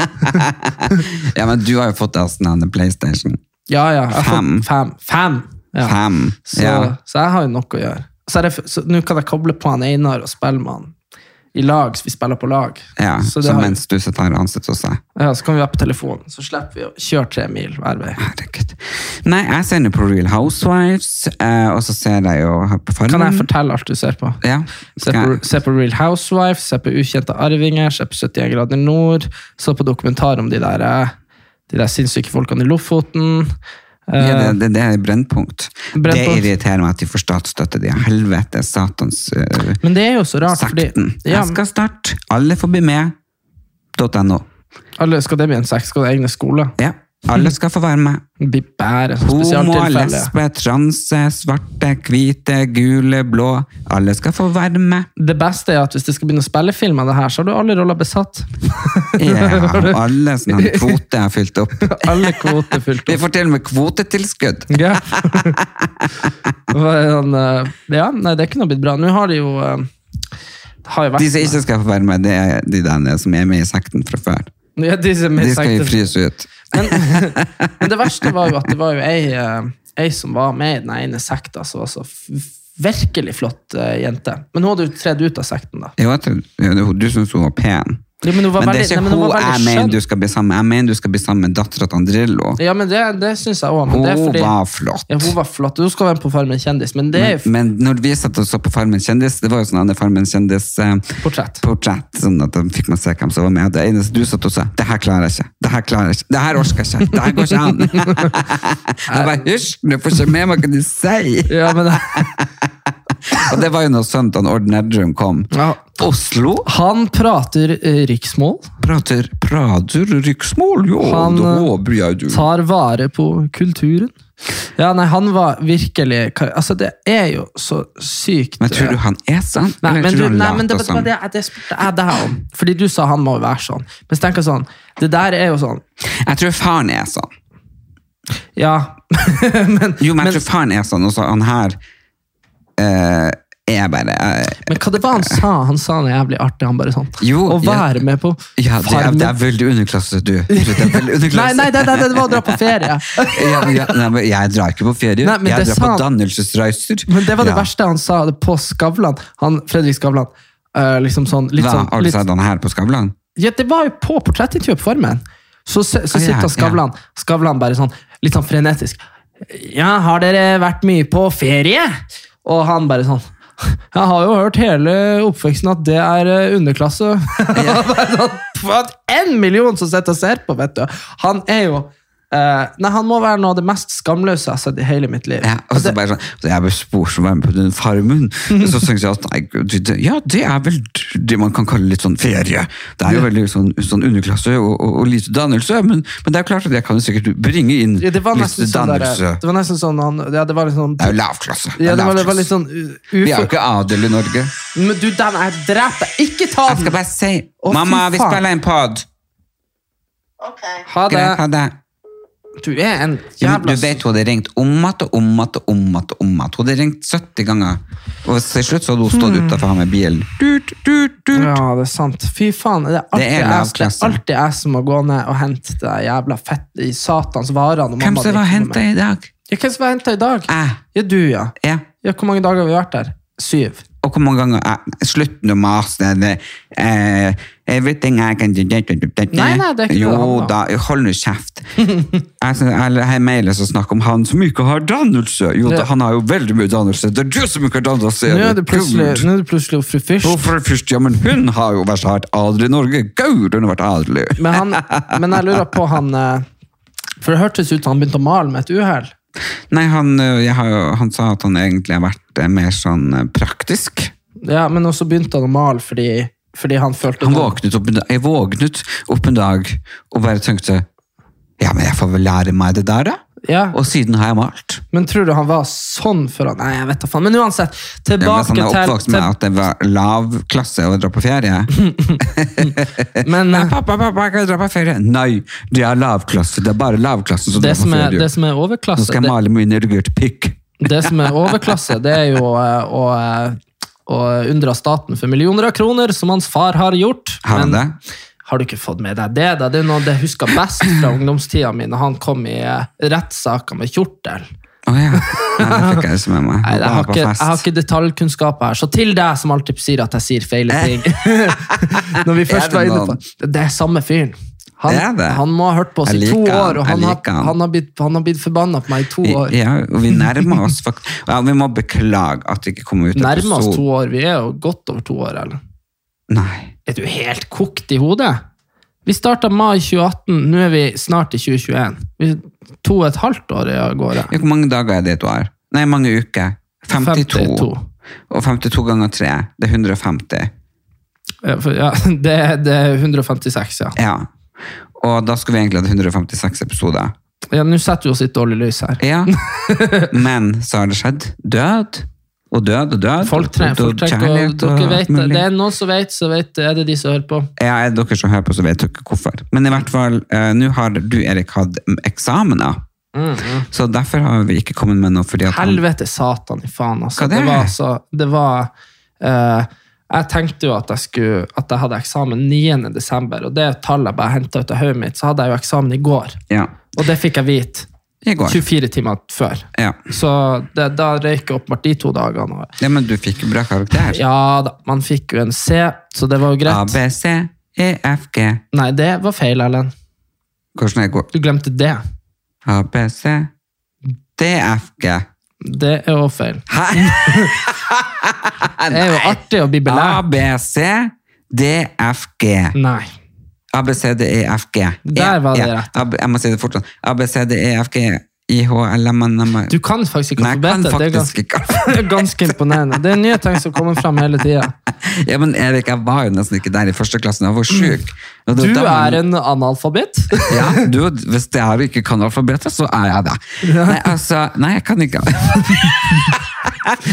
[SPEAKER 1] Ja, men du har jo fått deg sånn en Playstation.
[SPEAKER 2] Ja, ja. Jeg får
[SPEAKER 1] Fem.
[SPEAKER 2] Fem. Fem. Ja.
[SPEAKER 1] Fem.
[SPEAKER 2] Så,
[SPEAKER 1] Ja.
[SPEAKER 2] så jeg har jo noe å gjøre. Så er det f- så Nå kan jeg koble på han Einar og spille med han i lag, så vi spiller på lag.
[SPEAKER 1] Ja, så,
[SPEAKER 2] så, det har,
[SPEAKER 1] mens du sitter her og ansetter hos deg.
[SPEAKER 2] ja, så kan vi være på telefonen, så slipper vi å kjøre tre mil hver vei.
[SPEAKER 1] Herregud. Nei, jeg ser nå på Real Housewives, eh, og så ser jeg jo her på Farmen.
[SPEAKER 2] Kan jeg fortelle alt du ser på?
[SPEAKER 1] Ja.
[SPEAKER 2] Se
[SPEAKER 1] Skal
[SPEAKER 2] på,
[SPEAKER 1] jeg?
[SPEAKER 2] se på Real Housewives, se på Ukjente arvinger, se på 71 grader nord, se på dokumentar om de der, eh, de der sinnssyke folkene i Lofoten. Eh,
[SPEAKER 1] Ja, det, det, det er brennpunkt.
[SPEAKER 2] Brennpunkt.
[SPEAKER 1] Det irriterer meg at de får statsstøtte. De er helvete, satans eh,
[SPEAKER 2] Men det er jo så rart, fordi
[SPEAKER 1] sekten.
[SPEAKER 2] ja,
[SPEAKER 1] Jeg skal starte. Alle får bli med. .no.
[SPEAKER 2] alle, Skal det bli en sekt? Skal det egne skoler?
[SPEAKER 1] Ja. Alle skal få være med.
[SPEAKER 2] Vi bærer som
[SPEAKER 1] Homo,
[SPEAKER 2] spesialtilfelle.
[SPEAKER 1] lesbe, transe, svarte, hvite, gule, blå. Alle skal få være med.
[SPEAKER 2] Det beste er at hvis det skal begynne å spille film av det her, så har du alle roller besatt.
[SPEAKER 1] Ja, alle sånne kvoter er fylt opp.
[SPEAKER 2] Alle kvoter fylt
[SPEAKER 1] Vi
[SPEAKER 2] opp.
[SPEAKER 1] får til og med kvotetilskudd.
[SPEAKER 2] Ja. Hva er han, eh, ja, nei, det kunne ha blitt bra. Nå har de jo eh, det har jo vært
[SPEAKER 1] De som ikke skal få være med, det er de der som er med i sekten fra før.
[SPEAKER 2] Ja, de som er
[SPEAKER 1] De skal jo
[SPEAKER 2] sekter-
[SPEAKER 1] fryse ut.
[SPEAKER 2] Men, men det verste var jo at det var jo ei, eh, ei som var med i den ene sekta, som var så f- virkelig flott eh, jente. Men hun hadde jo tredd ut av sekten, da.
[SPEAKER 1] Jo, jeg tror- jo, Du syns hun var pen.
[SPEAKER 2] Ja, men hun var
[SPEAKER 1] Men det er
[SPEAKER 2] veldig,
[SPEAKER 1] ikke
[SPEAKER 2] nei, men hun
[SPEAKER 1] hun
[SPEAKER 2] var
[SPEAKER 1] jeg
[SPEAKER 2] veldig
[SPEAKER 1] mener
[SPEAKER 2] skjønn.
[SPEAKER 1] du skal bli sammen med. Jeg mener du skal bli sammen med dattera til Andrillo.
[SPEAKER 2] Ja, men det, det syns jeg òg.
[SPEAKER 1] Hun
[SPEAKER 2] Men det er fordi
[SPEAKER 1] var flott.
[SPEAKER 2] ja, hun var flott. Hun skal være med på Farmen kjendis, men det er jo
[SPEAKER 1] Men når vi satt og så på Farmen kjendis, det var jo sånn andre Farmen kjendis-portrett.
[SPEAKER 2] portrett.
[SPEAKER 1] Sånn at de fikk man se hvem som var med. Og Det eneste du satt og sa, det her klarer jeg ikke. Det her klarer jeg ikke. Det her orker jeg ikke. Det her går ikke an. Jeg bare hysj, du får ikke med meg hva de sier.
[SPEAKER 2] Ja, men
[SPEAKER 1] Og det var jo når sønnen til Ord Nerdrum kom.
[SPEAKER 2] ja.
[SPEAKER 1] Oslo
[SPEAKER 2] Han prater eh, riksmål,
[SPEAKER 1] prater prater riksmål, jo,
[SPEAKER 2] Han,
[SPEAKER 1] da blir jeg du.
[SPEAKER 2] tar vare på kulturen. Ja, nei, han var virkelig Altså, det er jo så sykt
[SPEAKER 1] Men tror
[SPEAKER 2] eh,
[SPEAKER 1] du han er sånn?
[SPEAKER 2] Nei,
[SPEAKER 1] Eller
[SPEAKER 2] men,
[SPEAKER 1] tror
[SPEAKER 2] du,
[SPEAKER 1] han
[SPEAKER 2] nei, men det,
[SPEAKER 1] later
[SPEAKER 2] det, var
[SPEAKER 1] som?
[SPEAKER 2] det, jeg- det spurte jeg deg om. Fordi du sa han må jo være sånn. Men så tenker jeg sånn, det der er jo sånn
[SPEAKER 1] Jeg tror faren er sånn.
[SPEAKER 2] Ja,
[SPEAKER 1] Jo, men jeg tror faren er sånn, og så han her eh, er bare eh,
[SPEAKER 2] men hva det var han sa? Han sa noe jævlig artig. Han bare sånn
[SPEAKER 1] Jo,
[SPEAKER 2] Å
[SPEAKER 1] ja.
[SPEAKER 2] være med på
[SPEAKER 1] ja, det, er,
[SPEAKER 2] Farmen.
[SPEAKER 1] det er veldig underklasse, du. Det er veldig
[SPEAKER 2] Nei,
[SPEAKER 1] underklasse.
[SPEAKER 2] nei, det, det, det var å dra på ferie.
[SPEAKER 1] ja, ja, nei, men jeg drar ikke på ferie.
[SPEAKER 2] Nei, men
[SPEAKER 1] jeg
[SPEAKER 2] det er
[SPEAKER 1] drar på
[SPEAKER 2] sant.
[SPEAKER 1] dannelsesreiser.
[SPEAKER 2] Men det var det
[SPEAKER 1] Ja.
[SPEAKER 2] verste han sa det på Skavlan. Han, Fredrik Skavlan. eh, liksom sånn, litt
[SPEAKER 1] Hva,
[SPEAKER 2] sånn
[SPEAKER 1] har du
[SPEAKER 2] litt,
[SPEAKER 1] sett han her på Skavlan?
[SPEAKER 2] Ja, det var jo på portrettintervjuet på Farmen. Så, se- så
[SPEAKER 1] Ah, ja,
[SPEAKER 2] sitter Skavlan Skavlan bare sånn, litt sånn frenetisk. Ja, har dere vært mye på ferie? Og han bare sånn Jeg har jo hørt hele oppveksten at det er eh, underklasse. Ja. sånn, for at en million som sitter og ser på, vet du. Han er jo Eh, nei, han må være noe av det mest skamløse jeg har sett i hele mitt liv.
[SPEAKER 1] Ja, og så
[SPEAKER 2] det,
[SPEAKER 1] bare sånn, så jeg ble spurt om å være med på den farmen. Og så tenkte jeg at nei, gud, det- ja, det er vel det man kan kalle litt sånn ferie. Det er jo veldig sånn, sånn underklasse og, og, og lite dannelse, men, men det er jo klart at jeg kan jo sikkert bringe inn
[SPEAKER 2] Ja, det var
[SPEAKER 1] litt
[SPEAKER 2] nesten sånn, der,
[SPEAKER 1] dannelse.
[SPEAKER 2] det var nesten sånn han, ja, det var litt sånn
[SPEAKER 1] Det er jo lavklasse.
[SPEAKER 2] ja, det, var, det
[SPEAKER 1] lavklasse.
[SPEAKER 2] var litt sånn u-
[SPEAKER 1] Vi er jo
[SPEAKER 2] ufor...
[SPEAKER 1] ikke adel i Norge.
[SPEAKER 2] Men du, den er drept! Ikke ta
[SPEAKER 1] Jeg skal
[SPEAKER 2] den!
[SPEAKER 1] bare si
[SPEAKER 2] Å, fy
[SPEAKER 1] Mamma, vi
[SPEAKER 2] faen.
[SPEAKER 1] spiller en pod!
[SPEAKER 2] Ha det.
[SPEAKER 1] Greit, ha det.
[SPEAKER 2] Du er en
[SPEAKER 1] Ja, men
[SPEAKER 2] jævla
[SPEAKER 1] Du vet hun hadde ringt om igjen og om igjen og om igjen. og om igjen. Hun hadde ringt 70 ganger, og til slutt så hadde hun
[SPEAKER 2] Hmm.
[SPEAKER 1] stått utenfor med bilen. Dut, dut, dut.
[SPEAKER 2] Ja, det er sant. Fy faen, det er alltid,
[SPEAKER 1] Det er
[SPEAKER 2] jeg, det er
[SPEAKER 1] lavklasse.
[SPEAKER 2] alltid jeg som må gå ned og hente det jævla fett i satans varene.
[SPEAKER 1] Hvem som var henta i dag?
[SPEAKER 2] Ja, hvem som var hentet i dag?
[SPEAKER 1] Jeg.
[SPEAKER 2] Ja, du, ja.
[SPEAKER 1] Ja.
[SPEAKER 2] ja. Hvor mange dager har vi vært der? Syv.
[SPEAKER 1] Og hvor mange ganger jeg, Slutt nå å mase. det- eh, everything I can do det- det- det- det-
[SPEAKER 2] Nei, nei, det er ikke det
[SPEAKER 1] Jo
[SPEAKER 2] det handler om.
[SPEAKER 1] da, hold nå kjeft. Jeg syns- Jeg har mailer som snakker om han som ikke har dannelse. Jo,
[SPEAKER 2] Ja.
[SPEAKER 1] da, han har jo veldig mye dannelse. Det er du som ikke har dannelse!
[SPEAKER 2] Nå er
[SPEAKER 1] du
[SPEAKER 2] det plutselig,
[SPEAKER 1] gud.
[SPEAKER 2] nå er det plutselig fru Fyrst.
[SPEAKER 1] Hvorfor først? Ja, men hun har jo vært hardt adelig i Norge. Gaud, hun har vært adelig.
[SPEAKER 2] Men, han, men jeg lurer på han eh, For det hørtes ut som han begynte å male med et uhell.
[SPEAKER 1] Nei, han, ø, jeg har, jo- han sa at han egentlig har vært eh, mer sånn eh, praktisk.
[SPEAKER 2] Ja, men også begynte han å male fordi, fordi han følte
[SPEAKER 1] Han
[SPEAKER 2] noe-
[SPEAKER 1] våknet opp, en da- jeg våknet opp en dag og bare tenkte Ja, men jeg får vel lære meg det der, da.
[SPEAKER 2] Ja,
[SPEAKER 1] Og siden har jeg malt.
[SPEAKER 2] Men tror du han var sånn før han Nei, jeg vet da faen. Men uansett,
[SPEAKER 1] Ja, men hvis han
[SPEAKER 2] tilbake
[SPEAKER 1] er
[SPEAKER 2] til,
[SPEAKER 1] sånn oppvokst med at det var lav klasse å dra på ferie
[SPEAKER 2] til Men
[SPEAKER 1] Nei,
[SPEAKER 2] eh,
[SPEAKER 1] pappa, pappa, kan jeg dra på ferie? Nei, det er lavklasse. Det er bare lavklassen som
[SPEAKER 2] det
[SPEAKER 1] drar på
[SPEAKER 2] som er,
[SPEAKER 1] ferie.
[SPEAKER 2] det som er
[SPEAKER 1] Nå
[SPEAKER 2] overklasse,
[SPEAKER 1] skal jeg
[SPEAKER 2] det,
[SPEAKER 1] male min irrigert pikk.
[SPEAKER 2] det som er overklasse, det er jo eh, å eh, å unndra staten for millioner av kroner, som hans far har gjort.
[SPEAKER 1] Har han
[SPEAKER 2] Men
[SPEAKER 1] det?
[SPEAKER 2] har du ikke fått med deg det? da? Det er noe jeg husker best fra ungdomstida mi, når han kom i eh, rettssaker med kjortel.
[SPEAKER 1] Å ja. Nei, det fikk jeg ikke med meg.
[SPEAKER 2] Nei, jeg,
[SPEAKER 1] Bare
[SPEAKER 2] har
[SPEAKER 1] på
[SPEAKER 2] ikke, jeg
[SPEAKER 1] fest.
[SPEAKER 2] har ikke detaljkunnskaper her, så til deg som alltid sier at jeg sier feil
[SPEAKER 1] Eh.
[SPEAKER 2] ting Når vi
[SPEAKER 1] Er det
[SPEAKER 2] først var inne på
[SPEAKER 1] noen?
[SPEAKER 2] Det det er samme fyren. Han,
[SPEAKER 1] Er det?
[SPEAKER 2] han må ha hørt på oss
[SPEAKER 1] Jeg
[SPEAKER 2] i to
[SPEAKER 1] liker han,
[SPEAKER 2] år, og han,
[SPEAKER 1] jeg
[SPEAKER 2] har-
[SPEAKER 1] liker han.
[SPEAKER 2] han har blitt, han har blitt forbanna på meg i to år.
[SPEAKER 1] Ja, og vi nærmer oss faktisk ja, Vi må beklage at det ikke kom ut
[SPEAKER 2] Nærmer oss
[SPEAKER 1] episode.
[SPEAKER 2] to år. Vi er jo godt over to år, eller?
[SPEAKER 1] Nei.
[SPEAKER 2] Er du helt kokt i hodet? Vi starta mai 2018, nå er vi snart i 2021. Vi er to og et halvt år i av gårde.
[SPEAKER 1] Ja, Hvor mange dager er det i et år? Nei, mange uker. 52.
[SPEAKER 2] 52.
[SPEAKER 1] Og 52 ganger 3, det er 150.
[SPEAKER 2] Ja, for- Ja, det, er- det er 156, ja.
[SPEAKER 1] Ja. Og da skulle vi egentlig hatt 156 episoder.
[SPEAKER 2] Ja, Nå setter vi oss i et dårlig lys her.
[SPEAKER 1] Ja. Men så har det skjedd. Død. Og død og død.
[SPEAKER 2] Folk trenger,
[SPEAKER 1] og
[SPEAKER 2] folk trenger
[SPEAKER 1] kjærlighet
[SPEAKER 2] og, dere
[SPEAKER 1] og alt
[SPEAKER 2] vet, det.
[SPEAKER 1] mulig.
[SPEAKER 2] det er noen som vet, så vet er det de som hører på.
[SPEAKER 1] Ja, er det dere som hører på, så vet dere hvorfor. Men i hvert fall, eh, nå har du, Erik, hatt mm, eksamener.
[SPEAKER 2] Mm,
[SPEAKER 1] Så derfor har vi ikke kommet med noe, fordi at han-
[SPEAKER 2] Helvete satan i faen,
[SPEAKER 1] Mm.
[SPEAKER 2] altså.
[SPEAKER 1] Hva det
[SPEAKER 2] Det
[SPEAKER 1] er?
[SPEAKER 2] var så Det var eh, Jeg tenkte jo at jeg skulle At jeg hadde eksamen 9. desember, og det er et tall jeg bare henta ut av hodet mitt, så hadde jeg jo eksamen i går.
[SPEAKER 1] Ja,
[SPEAKER 2] Og det fikk jeg vite
[SPEAKER 1] i går.
[SPEAKER 2] 24 timer før.
[SPEAKER 1] Ja.
[SPEAKER 2] Så det, da røyk jeg åpenbart de to dagene. og-
[SPEAKER 1] ja, men du fikk jo bra karakter.
[SPEAKER 2] Ja da, man fikk jo en C, så det var
[SPEAKER 1] A,
[SPEAKER 2] jo greit.
[SPEAKER 1] B, C, E, F, G.
[SPEAKER 2] Nei, det var feil, Erlend.
[SPEAKER 1] Hvordan er det går?
[SPEAKER 2] Du glemte det.
[SPEAKER 1] A, B, C, D, F, G.
[SPEAKER 2] Det er jo feil.
[SPEAKER 1] Hæ?
[SPEAKER 2] Det er jo artig å bli belært.
[SPEAKER 1] A, B, C, D, F, G.
[SPEAKER 2] Nei.
[SPEAKER 1] A, B, C, D, E, F, G.
[SPEAKER 2] Der var det rett.
[SPEAKER 1] A, B, jeg må si det fort. sånn. A, B, C, D, E, F, G, I, H, L, M, N, M,
[SPEAKER 2] Du kan faktisk ikke
[SPEAKER 1] Nei, jeg kan
[SPEAKER 2] alfabetet. Det er
[SPEAKER 1] faktisk
[SPEAKER 2] ganske,
[SPEAKER 1] ikke.
[SPEAKER 2] det er ganske imponerende. Det er nye ting som kommer fram hele tida.
[SPEAKER 1] Ja, men Erik, jeg var jo nesten ikke der i første klassen. Jeg var sjuk. Og
[SPEAKER 2] Mm. Du
[SPEAKER 1] det var da man-
[SPEAKER 2] er en analfabet.
[SPEAKER 1] ja, du, Hvis det her ikke kan alfabetet, så er jeg det. Nei, altså, nei, jeg kan ikke.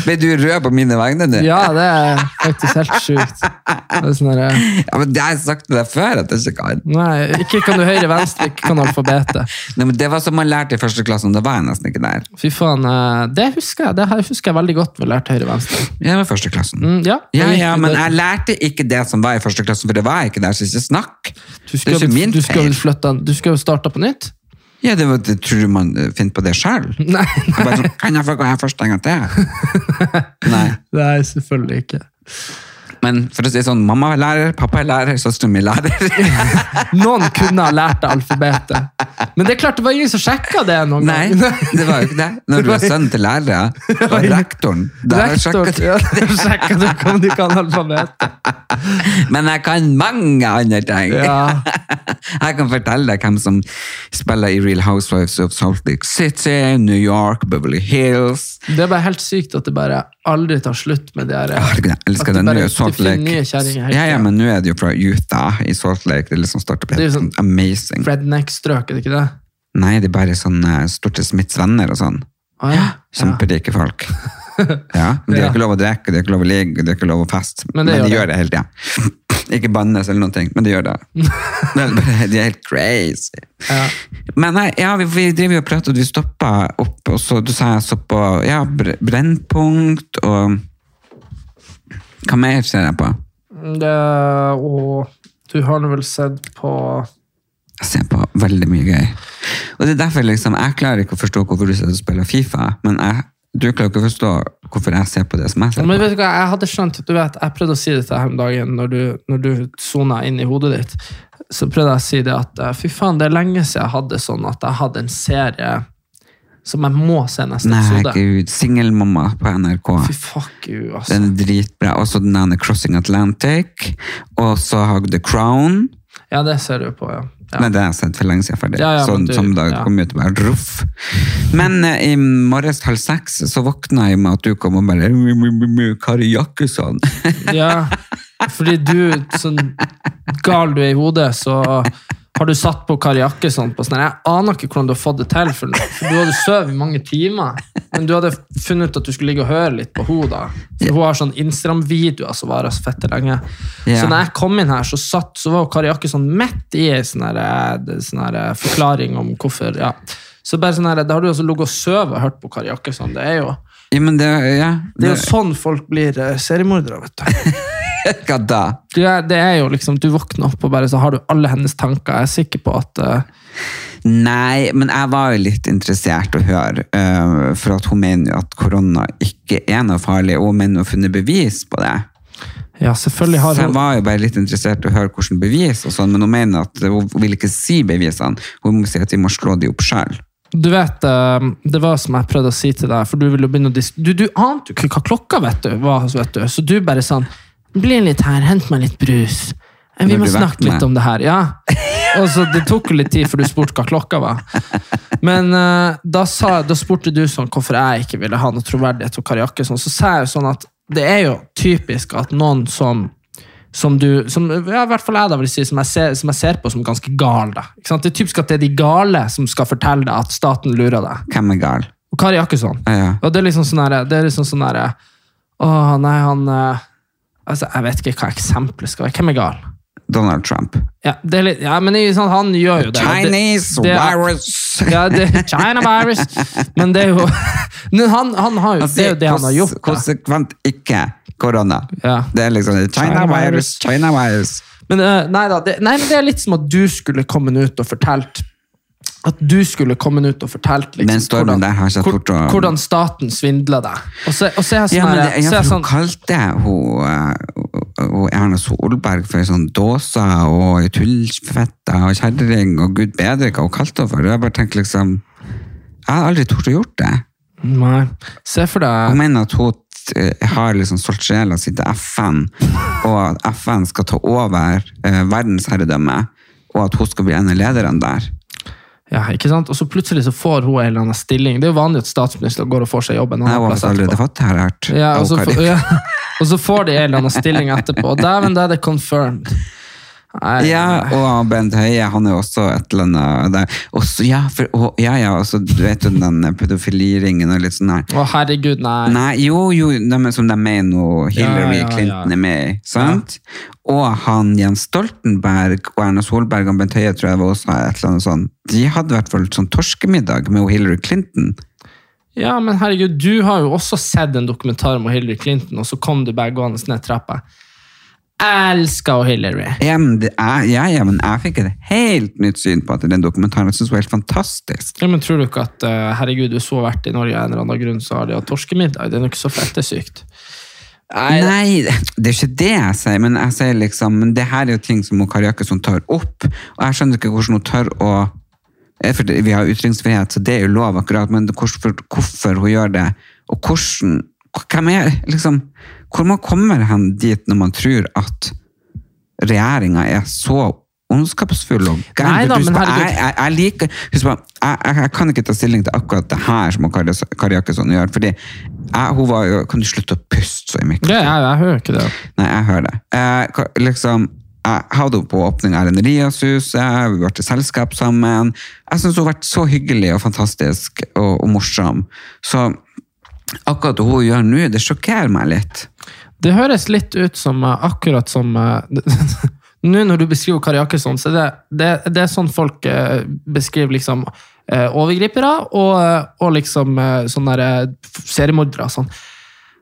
[SPEAKER 1] Ble du rød på mine vegne nå?
[SPEAKER 2] Ja, det er faktisk helt sjukt. Det er sånn der,
[SPEAKER 1] Ja, men det har jeg sagt til deg før at jeg ikke kan.
[SPEAKER 2] Nei, ikke kan du høyre-venstre, ikke kan alfabetet.
[SPEAKER 1] Nei, men det var som man lærte i første klassen, da var jeg nesten ikke der.
[SPEAKER 2] Fy faen, eh, det husker jeg Det her husker jeg veldig godt. Vi lærte høyre-venstre.
[SPEAKER 1] Jeg var i første klassen.
[SPEAKER 2] Mm,
[SPEAKER 1] Ja,
[SPEAKER 2] ja, det gikk
[SPEAKER 1] ja,
[SPEAKER 2] jo
[SPEAKER 1] men
[SPEAKER 2] det.
[SPEAKER 1] jeg lærte ikke det som var i første klassen, for det var jeg ikke der, så ikke snakk.
[SPEAKER 2] Du
[SPEAKER 1] det er
[SPEAKER 2] skulle
[SPEAKER 1] ikke min
[SPEAKER 2] du skulle
[SPEAKER 1] feil.
[SPEAKER 2] flytte Du skulle starta på nytt?
[SPEAKER 1] Ja, det, var, det tror du man eh, finner på det selv.
[SPEAKER 2] Nei,
[SPEAKER 1] Jeg Bare sånn, kan jeg få gå her først en gang til? Nei.
[SPEAKER 2] nei selvfølgelig ikke.
[SPEAKER 1] Men for å si det sånn, mamma er lærer, pappa er lærer, søsteren min er lærer.
[SPEAKER 2] Noen kunne ha lært deg alfabetet. Men det er klart, det var ingen som sjekka det noen
[SPEAKER 1] Nei,
[SPEAKER 2] gang.
[SPEAKER 1] det var jo ikke det. Når du er sønn til lærere, og rektoren der
[SPEAKER 2] Rektor,
[SPEAKER 1] sjekker
[SPEAKER 2] ja, der sjekka du ikke om du kan alfabetet.
[SPEAKER 1] du. Men jeg kan mange andre ting.
[SPEAKER 2] Ja.
[SPEAKER 1] Jeg kan fortelle deg hvem som spiller i Real Housewives of Salt Lake City, New York, Beverly Hills.
[SPEAKER 2] Det er bare helt sykt at det bare aldri tar slutt med det her.
[SPEAKER 1] Herregud, jeg elsker
[SPEAKER 2] At de
[SPEAKER 1] det. Nå er
[SPEAKER 2] bare-
[SPEAKER 1] jo Salt
[SPEAKER 2] de finner nye
[SPEAKER 1] Lake
[SPEAKER 2] kjerringer hele
[SPEAKER 1] ja, ja,
[SPEAKER 2] tiden.
[SPEAKER 1] men nå er det jo fra Utah i Salt Lake. Det er liksom starter å bli
[SPEAKER 2] Det er
[SPEAKER 1] helt
[SPEAKER 2] jo
[SPEAKER 1] sånn amazing.
[SPEAKER 2] Redneck-strøk, er det ikke det?
[SPEAKER 1] Nei, det er bare sånn eh, stort sett Smiths venner og sånn.
[SPEAKER 2] Å, ja.
[SPEAKER 1] Kjemperike folk. Ja, men De har ikke lov å drikke, de har ikke lov å ligge, de har ikke lov å feste.
[SPEAKER 2] Men
[SPEAKER 1] Men,
[SPEAKER 2] det
[SPEAKER 1] de
[SPEAKER 2] gjør
[SPEAKER 1] gjør det hele tida. Ikke bannes eller noen ting, men de gjør det. Det er bare- de er helt crazy. Men nei, ja, vi, vi driver jo og prater, og du stoppa opp, og så du sa jeg så på ja, Br- Brennpunkt og Hva mer ser jeg på?
[SPEAKER 2] Det, og du har nå vel sett på
[SPEAKER 1] Jeg ser på veldig mye gøy. Og det er derfor liksom, jeg klarer ikke å forstå hvorfor du sitter og spiller Fifa, men jeg, du klarer ikke å forstå hvorfor jeg ser på det som jeg ser på.
[SPEAKER 2] Men vet du hva, Jeg hadde skjønt, du vet, jeg prøvde å si dette her om dagen når du, når du sona inn i hodet ditt. Så prøvde jeg å si det at eh, fy faen, det er lenge siden jeg hadde sånn at jeg hadde en serie som jeg må se neste
[SPEAKER 1] Nei,
[SPEAKER 2] episode.
[SPEAKER 1] gud. Singelmamma på NRK.
[SPEAKER 2] Fy fuck you, altså.
[SPEAKER 1] Den er dritbra. Og så den ene Crossing Atlantic. Og så har jeg The Crown.
[SPEAKER 2] Ja, det ser du på, ja. ja.
[SPEAKER 1] Nei, det har jeg sett for lenge siden ferdig.
[SPEAKER 2] Ja, ja,
[SPEAKER 1] sånn,
[SPEAKER 2] men du-
[SPEAKER 1] samme dag
[SPEAKER 2] ja.
[SPEAKER 1] kom jeg ut og bare ruff. Men eh, i morges halv seks så våkna jeg med at du kom og bare "Mu, mu, mu, mu, Kari Jakkesson.
[SPEAKER 2] Ja, fordi du, sånn gal du er i hodet, så har du satt på Kari Jakkesson på sånn Jeg aner ikke hvordan du har fått det til, for, for du hadde søv i mange timer. Men du hadde funnet ut at du skulle ligge og høre litt på henne. da. For hun har sånn Instagram-videoer som varer så fette lenge.
[SPEAKER 1] Ja.
[SPEAKER 2] Så når jeg kom inn her, så, satt, så var jo Kari Jakkesson midt i en sånn her, det- sånn her forklaring om hvorfor ja. Så bare sånn her, Da har du altså ligget og sovet og hørt på Kari Jakkesson. Det er jo,
[SPEAKER 1] Ja, men det ja,
[SPEAKER 2] det er jo sånn folk blir eh, seriemordere, vet du.
[SPEAKER 1] Hva da?
[SPEAKER 2] Du er, det er jo liksom, du våkner opp og bare så har du alle hennes tanker. Jeg er sikker på at eh,
[SPEAKER 1] Nei, men jeg var jo litt interessert å høre, eh, for at hun mener jo at korona ikke er noe farlig, og hun mener hun har funnet bevis på det.
[SPEAKER 2] Ja, selvfølgelig har
[SPEAKER 1] Så jeg
[SPEAKER 2] hun
[SPEAKER 1] var jo bare litt interessert i å høre hvordan bevis og sånn, men hun mener at hun vil ikke si bevisene. Hun må si at vi må slå de opp sjøl.
[SPEAKER 2] Du vet, eh, det var som jeg prøvde å si til deg, for du ville jo begynne å disk... Du, du ante jo ikke hva klokka vet du, var, vet du. Så du bare sånn Bli litt her, hent meg litt brus. Eh, Vi
[SPEAKER 1] Men du
[SPEAKER 2] må snakke
[SPEAKER 1] vekte meg.
[SPEAKER 2] litt om det her. Ja. Og så Det tok jo litt tid før du spurte hva klokka var. Men eh, da, sa, da spurte du sånn hvorfor jeg ikke ville ha noe troverdighet og kariakke. Sånn. Så sa jeg jo sånn at det er jo typisk at noen som som du, som, ja, i hvert fall jeg da vil si, som jeg ser, som jeg ser på som ganske gal. Da. Ikke sant? Det er typisk at det er de gale som skal fortelle deg at staten lurer deg.
[SPEAKER 1] Hvem er gal? Eh,
[SPEAKER 2] Og Kari Jakkesson.
[SPEAKER 1] Ja, ja.
[SPEAKER 2] Og det er liksom sånn her, det er liksom sånn her Å, nei, han eh, altså, Jeg vet ikke hva eksempelet skal være. Hvem er gal?
[SPEAKER 1] Donald Trump.
[SPEAKER 2] Ja, det er litt, ja men det er jo sånn, han gjør jo det. og det
[SPEAKER 1] Chinese
[SPEAKER 2] det er-
[SPEAKER 1] virus!
[SPEAKER 2] ja, det, China virus. Men det er jo Men han, han har jo, det er jo det han har gjort. da.
[SPEAKER 1] Konsekvent ikke korona.
[SPEAKER 2] Ja.
[SPEAKER 1] Det er liksom China
[SPEAKER 2] China
[SPEAKER 1] virus,
[SPEAKER 2] virus.
[SPEAKER 1] China virus.
[SPEAKER 2] Men eh, nei da, det, nei, men det er litt som at du skulle kommet ut og fortalt At du skulle kommet ut og fortalt liksom,
[SPEAKER 1] Den stormen der har ikke jeg tort å-
[SPEAKER 2] hvordan staten svindler deg. Og så, og så er jeg sånn
[SPEAKER 1] Ja, men
[SPEAKER 2] her,
[SPEAKER 1] det,
[SPEAKER 2] så er
[SPEAKER 1] ja,
[SPEAKER 2] jeg
[SPEAKER 1] for hun
[SPEAKER 2] sånn
[SPEAKER 1] kalte hun, eh, hun Erna Solberg for sånn dåsa og tullfetta og kjerring og gud bedre hva hun kalte henne for. Og Jeg bare tenker liksom, jeg har aldri tort å gjort det.
[SPEAKER 2] Nei, se for deg
[SPEAKER 1] Hun mener at hun eh, har liksom solgt sjela si til FN, og at FN skal ta over eh, verdensherredømme, og at hun skal bli en av lederne der.
[SPEAKER 2] Ja, ikke sant? Og så plutselig så får hun en eller annen stilling. Det er jo vanlig at statsminister går og får seg jobb en
[SPEAKER 1] Nei, hun
[SPEAKER 2] annen
[SPEAKER 1] har
[SPEAKER 2] plass
[SPEAKER 1] visst allerede
[SPEAKER 2] etterpå.
[SPEAKER 1] fått det, har jeg hørt.
[SPEAKER 2] Ja,
[SPEAKER 1] av
[SPEAKER 2] og, så,
[SPEAKER 1] Kari.
[SPEAKER 2] får- ja, og så får de en eller annen stilling etterpå. Og dæven, da er det confirmed. Nei,
[SPEAKER 1] Ja, og Bent Høie, han er jo også et eller annet der. Også, ja, for, og, ja, ja, og så du vet jo den der pedofiliringen og litt sånn her.
[SPEAKER 2] Å, herregud, nei.
[SPEAKER 1] Nei, jo, jo, de, er- som de er med i nå, Hillary
[SPEAKER 2] Ja, ja, ja.
[SPEAKER 1] Clinton er med i, sant? Og han Jens Stoltenberg og Erna Solberg og Bent Høie tror jeg var også et eller annet sånn. De hadde i hvert fall sånn torskemiddag med Hillary Clinton.
[SPEAKER 2] Ja, men herregud, du har jo også sett en dokumentar om Hillary Clinton, og så kom du bare gående ned trappa. Elsker Hillary!
[SPEAKER 1] Ja, men, det er, ja, ja, men jeg fikk et helt nytt syn på at den dokumentaren. Jeg synes det var helt fantastisk.
[SPEAKER 2] Ja, men tror du ikke at eh, herregud, hvis hun har vært i Norge av en eller annen grunn, så har de hatt torskemiddag? Det er jo ikke så fettesykt.
[SPEAKER 4] Nei,
[SPEAKER 1] Nei, det er ikke det jeg sier, men jeg sier liksom men det her er jo ting som hun Kari Jakkesson tar opp. Og jeg skjønner ikke hvordan hun tør å eh, for det- Vi har ytringsfrihet, så det er jo lov, akkurat, men hvorfor, hvorfor hun gjør det, og hvordan hvem er, liksom, Hvor man kommer hen dit når man tror at regjeringa er så ondskapsfull og
[SPEAKER 4] Nei da,
[SPEAKER 1] Husk
[SPEAKER 4] men
[SPEAKER 1] på,
[SPEAKER 4] herregud.
[SPEAKER 1] jeg, jeg, jeg liker husk på, jeg, jeg, jeg kan ikke ta stilling til akkurat det her som hun Kari Kari Jakkesson gjør, fordi jeg, hun var jo Kan du slutte å puste så i mikrofonen?
[SPEAKER 2] jeg, hører ikke det.
[SPEAKER 1] Nei, jeg hører det. Eh, hva- liksom, jeg hadde henne på åpning av Reneriashuset, vi var til selskap sammen. Jeg synes hun har vært så hyggelig og fantastisk og, og morsom. Så akkurat det hun gjør nå, det sjokkerer meg litt.
[SPEAKER 2] Det høres litt ut som eh, akkurat som eh, Nå når du beskriver Kari Jakkesson, så er det, det, det er sånn folk eh, beskriver liksom eh, overgripere og, eh, og liksom eh, sånne der, eh, seriemordere. Sånn.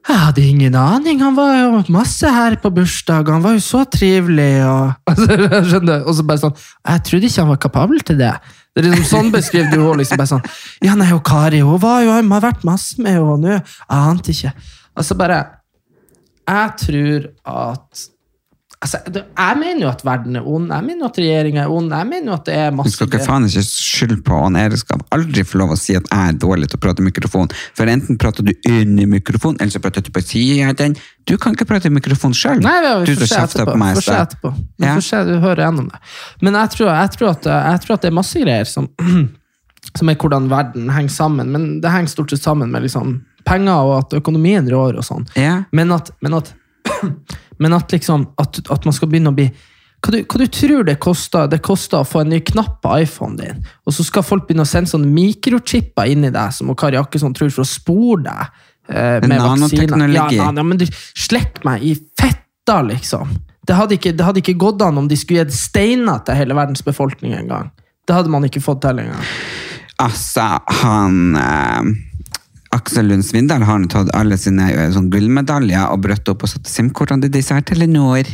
[SPEAKER 2] Jeg hadde ingen aning. Han var jo masse her på bursdag. Han var jo så trivelig. Og, altså, jeg skjønner. og så bare sånn Jeg trodde ikke han var kapabel til det. Det er liksom Sånn beskriver du henne. Liksom, bare sånn, ja, nei, og Kari hun var jo, hun har vært masse med henne, og nå jeg ante ikke. Altså bare Jeg tror at altså, det- Jeg mener jo at verden er ond. Jeg mener jo at regjeringa er ond. Jeg mener jo at det er
[SPEAKER 1] Du
[SPEAKER 2] masse
[SPEAKER 1] skal ikke faen ikke skylde på han Erik skal aldri få lov å si at jeg er dårlig til å prate i mikrofon. For enten prater du inn i mikrofonen, eller så prater du på siden av den. Du kan ikke prate i mikrofon selv.
[SPEAKER 2] Nei, vi, vi
[SPEAKER 1] du
[SPEAKER 2] får
[SPEAKER 1] som
[SPEAKER 2] se
[SPEAKER 1] kjefter
[SPEAKER 2] etterpå.
[SPEAKER 1] på meg.
[SPEAKER 2] Vi får se
[SPEAKER 1] så-
[SPEAKER 2] etterpå. Vi
[SPEAKER 1] Ja.
[SPEAKER 2] får se, du hører gjennom det. Men jeg tror, jeg tror, at, jeg tror at det er masse greier som, som er hvordan verden henger sammen. Men det henger stort sett sammen med liksom penger og at økonomien rår og sånn.
[SPEAKER 1] Ja.
[SPEAKER 2] Men at, men at, men at liksom at, at man skal begynne å bli hva du, hva du tror det koster Det koster å få en ny knapp på iPhonen din, og så skal folk begynne å sende sånne mikrochipper inn i deg, som og Kari Akkesson tror, for å spore deg. Eh, med
[SPEAKER 1] Nanoteknologi.
[SPEAKER 2] vaksiner. Ja, na- ja, men du, slekk meg i fetta, liksom. Det hadde, ikke, det hadde ikke gått an om de skulle gitt steiner til hele verdens befolkning engang. Det hadde man ikke fått til engang.
[SPEAKER 1] Altså, han eh, Aksel Lund Svindal har nå tatt alle sine eh, sånn gullmedaljer og brøtt opp og satt SIM-kortene til disse her Telenor.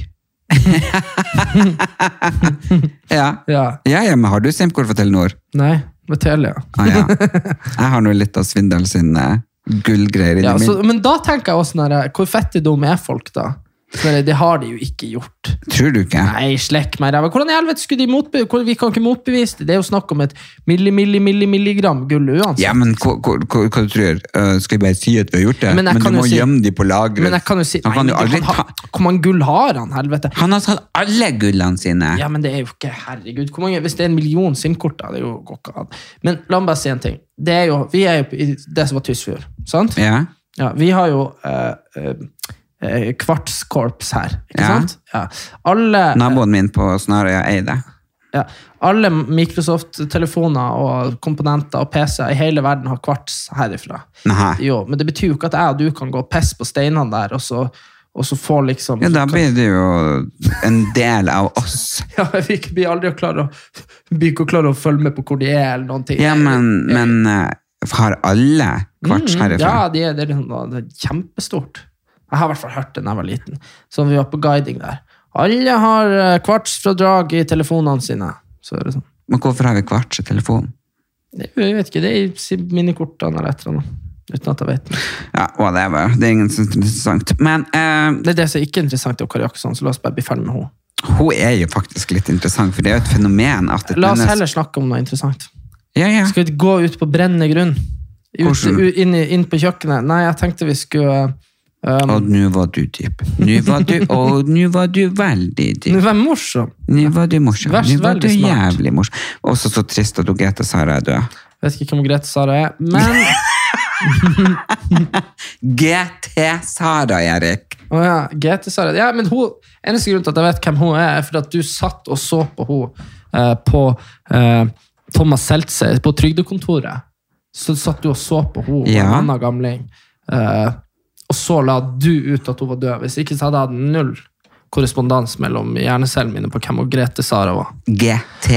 [SPEAKER 1] ja.
[SPEAKER 2] Ja.
[SPEAKER 1] ja, ja, men har du SIM-kort for Telenor?
[SPEAKER 2] Nei, med Telia.
[SPEAKER 1] Ah, ja. Jeg har nå litt av Svindal sine gullgreier inni
[SPEAKER 2] Ja, så,
[SPEAKER 1] min.
[SPEAKER 2] men da tenker jeg også sånn her, Hvor fattigdom er folk, da? Sånn her, det har de jo ikke gjort.
[SPEAKER 1] Tror du ikke?
[SPEAKER 2] Nei, slekk meg ræva. Hvordan i helvete skulle de motbe hvor- Vi kan ikke motbevise det. Det er jo snakk om et milli, milli, milli, milligram gull uansett.
[SPEAKER 1] Ja, men hva, hva, hva, hva du tror du? skal vi bare si at vi har gjort det?
[SPEAKER 2] Men jeg
[SPEAKER 1] Men, du
[SPEAKER 2] kan jo
[SPEAKER 1] må
[SPEAKER 2] si-
[SPEAKER 1] gjemme de på lageret.
[SPEAKER 2] men jeg kan jo si
[SPEAKER 1] han
[SPEAKER 2] nei,
[SPEAKER 1] kan jo
[SPEAKER 2] men
[SPEAKER 1] aldri
[SPEAKER 2] det- han har-
[SPEAKER 1] ta...
[SPEAKER 2] Hvor mange gull har han, helvete?
[SPEAKER 1] Han har tatt alle gullene sine.
[SPEAKER 2] Ja, men det er jo ikke Herregud, hvor mange, hvis det er en million SIM-kort, da? Det er jo går ikke an. Men la meg bare si en ting. Det er jo, vi er jo i det som var Tysfjord, sant?
[SPEAKER 1] Ja.
[SPEAKER 2] Ja, vi har jo eh, eh, eh, kvartskorps her, ikke
[SPEAKER 1] Ja.
[SPEAKER 2] sant? Ja. Alle
[SPEAKER 1] Naboen min på Snarøya eide.
[SPEAKER 2] Ja. Alle Microsoft-telefoner og komponenter og PC-er i hele verden har kvarts herifra.
[SPEAKER 1] Nei.
[SPEAKER 2] Jo, men det betyr jo ikke at jeg og du kan gå og pisse på steinene der, og så, og så få liksom
[SPEAKER 1] Ja, da blir det jo en del av oss.
[SPEAKER 2] Ja, Vi blir aldri å klare å, vi blir ikke å klare å følge med på hvor de er, eller noen ting.
[SPEAKER 1] Ja, men, men eh, har alle kvarts herifra?
[SPEAKER 2] Mm, Ja, de er, det, er, liksom- det er kjempestort. Jeg har i hvert fall hørt det da jeg var liten. Så vi var på guiding der. Alle har eh, kvartsfradrag i telefonene sine. Så er det sånn.
[SPEAKER 1] Men hvorfor har vi kvarts i telefonen?
[SPEAKER 2] Det, jeg vet ikke, det er i minikortene eller et eller annet. Uten at jeg vet det.
[SPEAKER 1] Ja, whatever. Det er ingen som synes det er interessant. Men eh,
[SPEAKER 2] Det er det som ikke er interessant, det er Kari Jakkesson, så la oss bare bli ferdig med henne.
[SPEAKER 1] hun er jo faktisk litt interessant, for det er jo et fenomen at et
[SPEAKER 2] La oss
[SPEAKER 1] menneske-
[SPEAKER 2] heller snakke om noe interessant.
[SPEAKER 1] Ja, ja.
[SPEAKER 2] Skal vi gå ut på brennende grunn? Ut,
[SPEAKER 1] Hvordan?
[SPEAKER 2] u, inn, i- inn på kjøkkenet? Nei, jeg tenkte vi skulle um,
[SPEAKER 1] Og nå var du dyp. Nå var du, og nå var du veldig dyp.
[SPEAKER 2] nå Vær morsom!
[SPEAKER 1] Nå var du morsom.
[SPEAKER 2] Vær så
[SPEAKER 1] Nå var du
[SPEAKER 2] veldig smart.
[SPEAKER 1] jævlig morsom. Også så trist at hun Grete Sara er død.
[SPEAKER 2] Vet ikke hvem Grete Sara er, men
[SPEAKER 1] GT Sara, Erik!
[SPEAKER 2] Å ja, GT Sara. Ja, men hun, eneste grunn til at jeg vet hvem hun er, er fordi at du satt og så på henne eh, på eh, Thomas Seltzer på Trygdekontoret. Så satt du og så på henne og en
[SPEAKER 1] Ja.
[SPEAKER 2] annen gamling, eh, og så la du ut at hun var død. Hvis ikke så hadde jeg hatt null korrespondans mellom hjernecellene mine på hvem hun Grete Sara var.
[SPEAKER 1] GT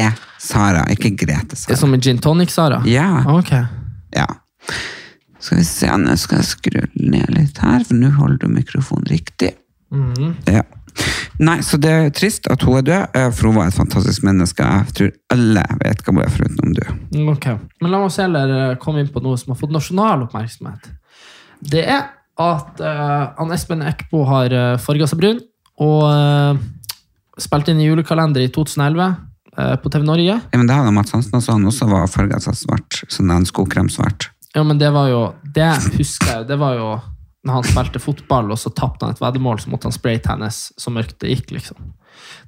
[SPEAKER 1] Sara, ikke Grete
[SPEAKER 2] Det er sånn-
[SPEAKER 1] Sara.
[SPEAKER 2] som en gin tonic-Sara?
[SPEAKER 1] Ja.
[SPEAKER 2] Ok.
[SPEAKER 1] Ja. Skal vi se, nå skal jeg skru ned litt her, for nå holder du mikrofonen riktig.
[SPEAKER 2] Mhm.
[SPEAKER 1] Ja. Nei, så det er trist at hun er død, eh, for hun var et fantastisk menneske. Jeg tror alle vet hva hun er foruten om du.
[SPEAKER 2] Ok. Men la oss heller eh, komme inn på noe som har fått nasjonal oppmerksomhet. Det er at eh, han Espen Eckbo har uh, farga seg brun og eh, spilte inn i julekalender i 2011 eh, på TV Norge.
[SPEAKER 1] Ja, men det hadde Mats Hansen også, han sånn, også var farget seg svart. Sånn en skokrem svart.
[SPEAKER 2] Ja, men det var jo Det husker jeg, det var jo når han spilte fotball og så tapte han et veddemål, så måtte han spraytannes så mørkt det gikk, liksom.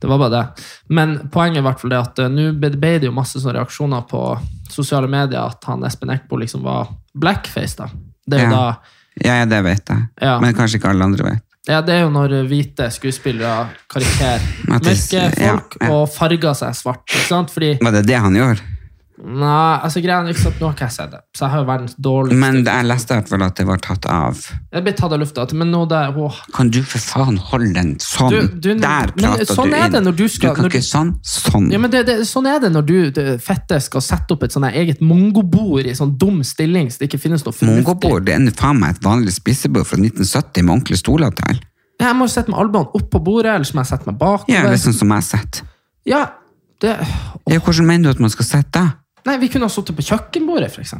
[SPEAKER 2] Det var bare det. Men poenget er i hvert fall det at eh, nå ble ble det jo masse sånne reaksjoner på sosiale medier at han Espen Eckbo liksom var blackface, da. Det er jo
[SPEAKER 1] Ja.
[SPEAKER 2] da
[SPEAKER 1] Ja, ja, det vet jeg.
[SPEAKER 2] Ja.
[SPEAKER 1] Men kanskje ikke alle andre vet.
[SPEAKER 2] Ja, det er jo når hvite skuespillere karikerer
[SPEAKER 1] At det-
[SPEAKER 2] mørke folk
[SPEAKER 1] ja, ja.
[SPEAKER 2] og farger seg svart. ikke sant? Fordi,
[SPEAKER 1] Var det det han gjorde?
[SPEAKER 2] nei, altså greien er ikke at Nå har ikke jeg sett det, så jeg har jo verdens dårligste
[SPEAKER 1] Men jeg leste i hvert fall at det var tatt av.
[SPEAKER 2] Jeg blir tatt av lufta. at- Men nå det, åh.
[SPEAKER 1] Kan du for faen holde den sånn?
[SPEAKER 2] Du- du-
[SPEAKER 1] Der
[SPEAKER 2] men
[SPEAKER 1] prater
[SPEAKER 2] sånn
[SPEAKER 1] du
[SPEAKER 2] er
[SPEAKER 1] inn.
[SPEAKER 2] det når du skal-
[SPEAKER 1] kan
[SPEAKER 2] når du-
[SPEAKER 1] ikke sånn, sånn.
[SPEAKER 2] Ja, men det, det, Sånn er det når du det, fette skal sette opp et sånn her eget mongobord i sånn dum stilling så det ikke finnes noe fornuftig.
[SPEAKER 1] Mongobord, det er faen meg et vanlig spisebord fra 1970 med ordentlige stoler til.
[SPEAKER 2] Jeg må jo sette meg albuene opp på bordet, eller så må jeg sette meg
[SPEAKER 1] Ja,
[SPEAKER 2] bakover.
[SPEAKER 1] det er sånn som jeg setter.
[SPEAKER 2] Ja, det,
[SPEAKER 1] Ja, hvordan mener du at man skal sette det?
[SPEAKER 2] nei, vi kunne ha sittet på kjøkkenbordet, f.eks.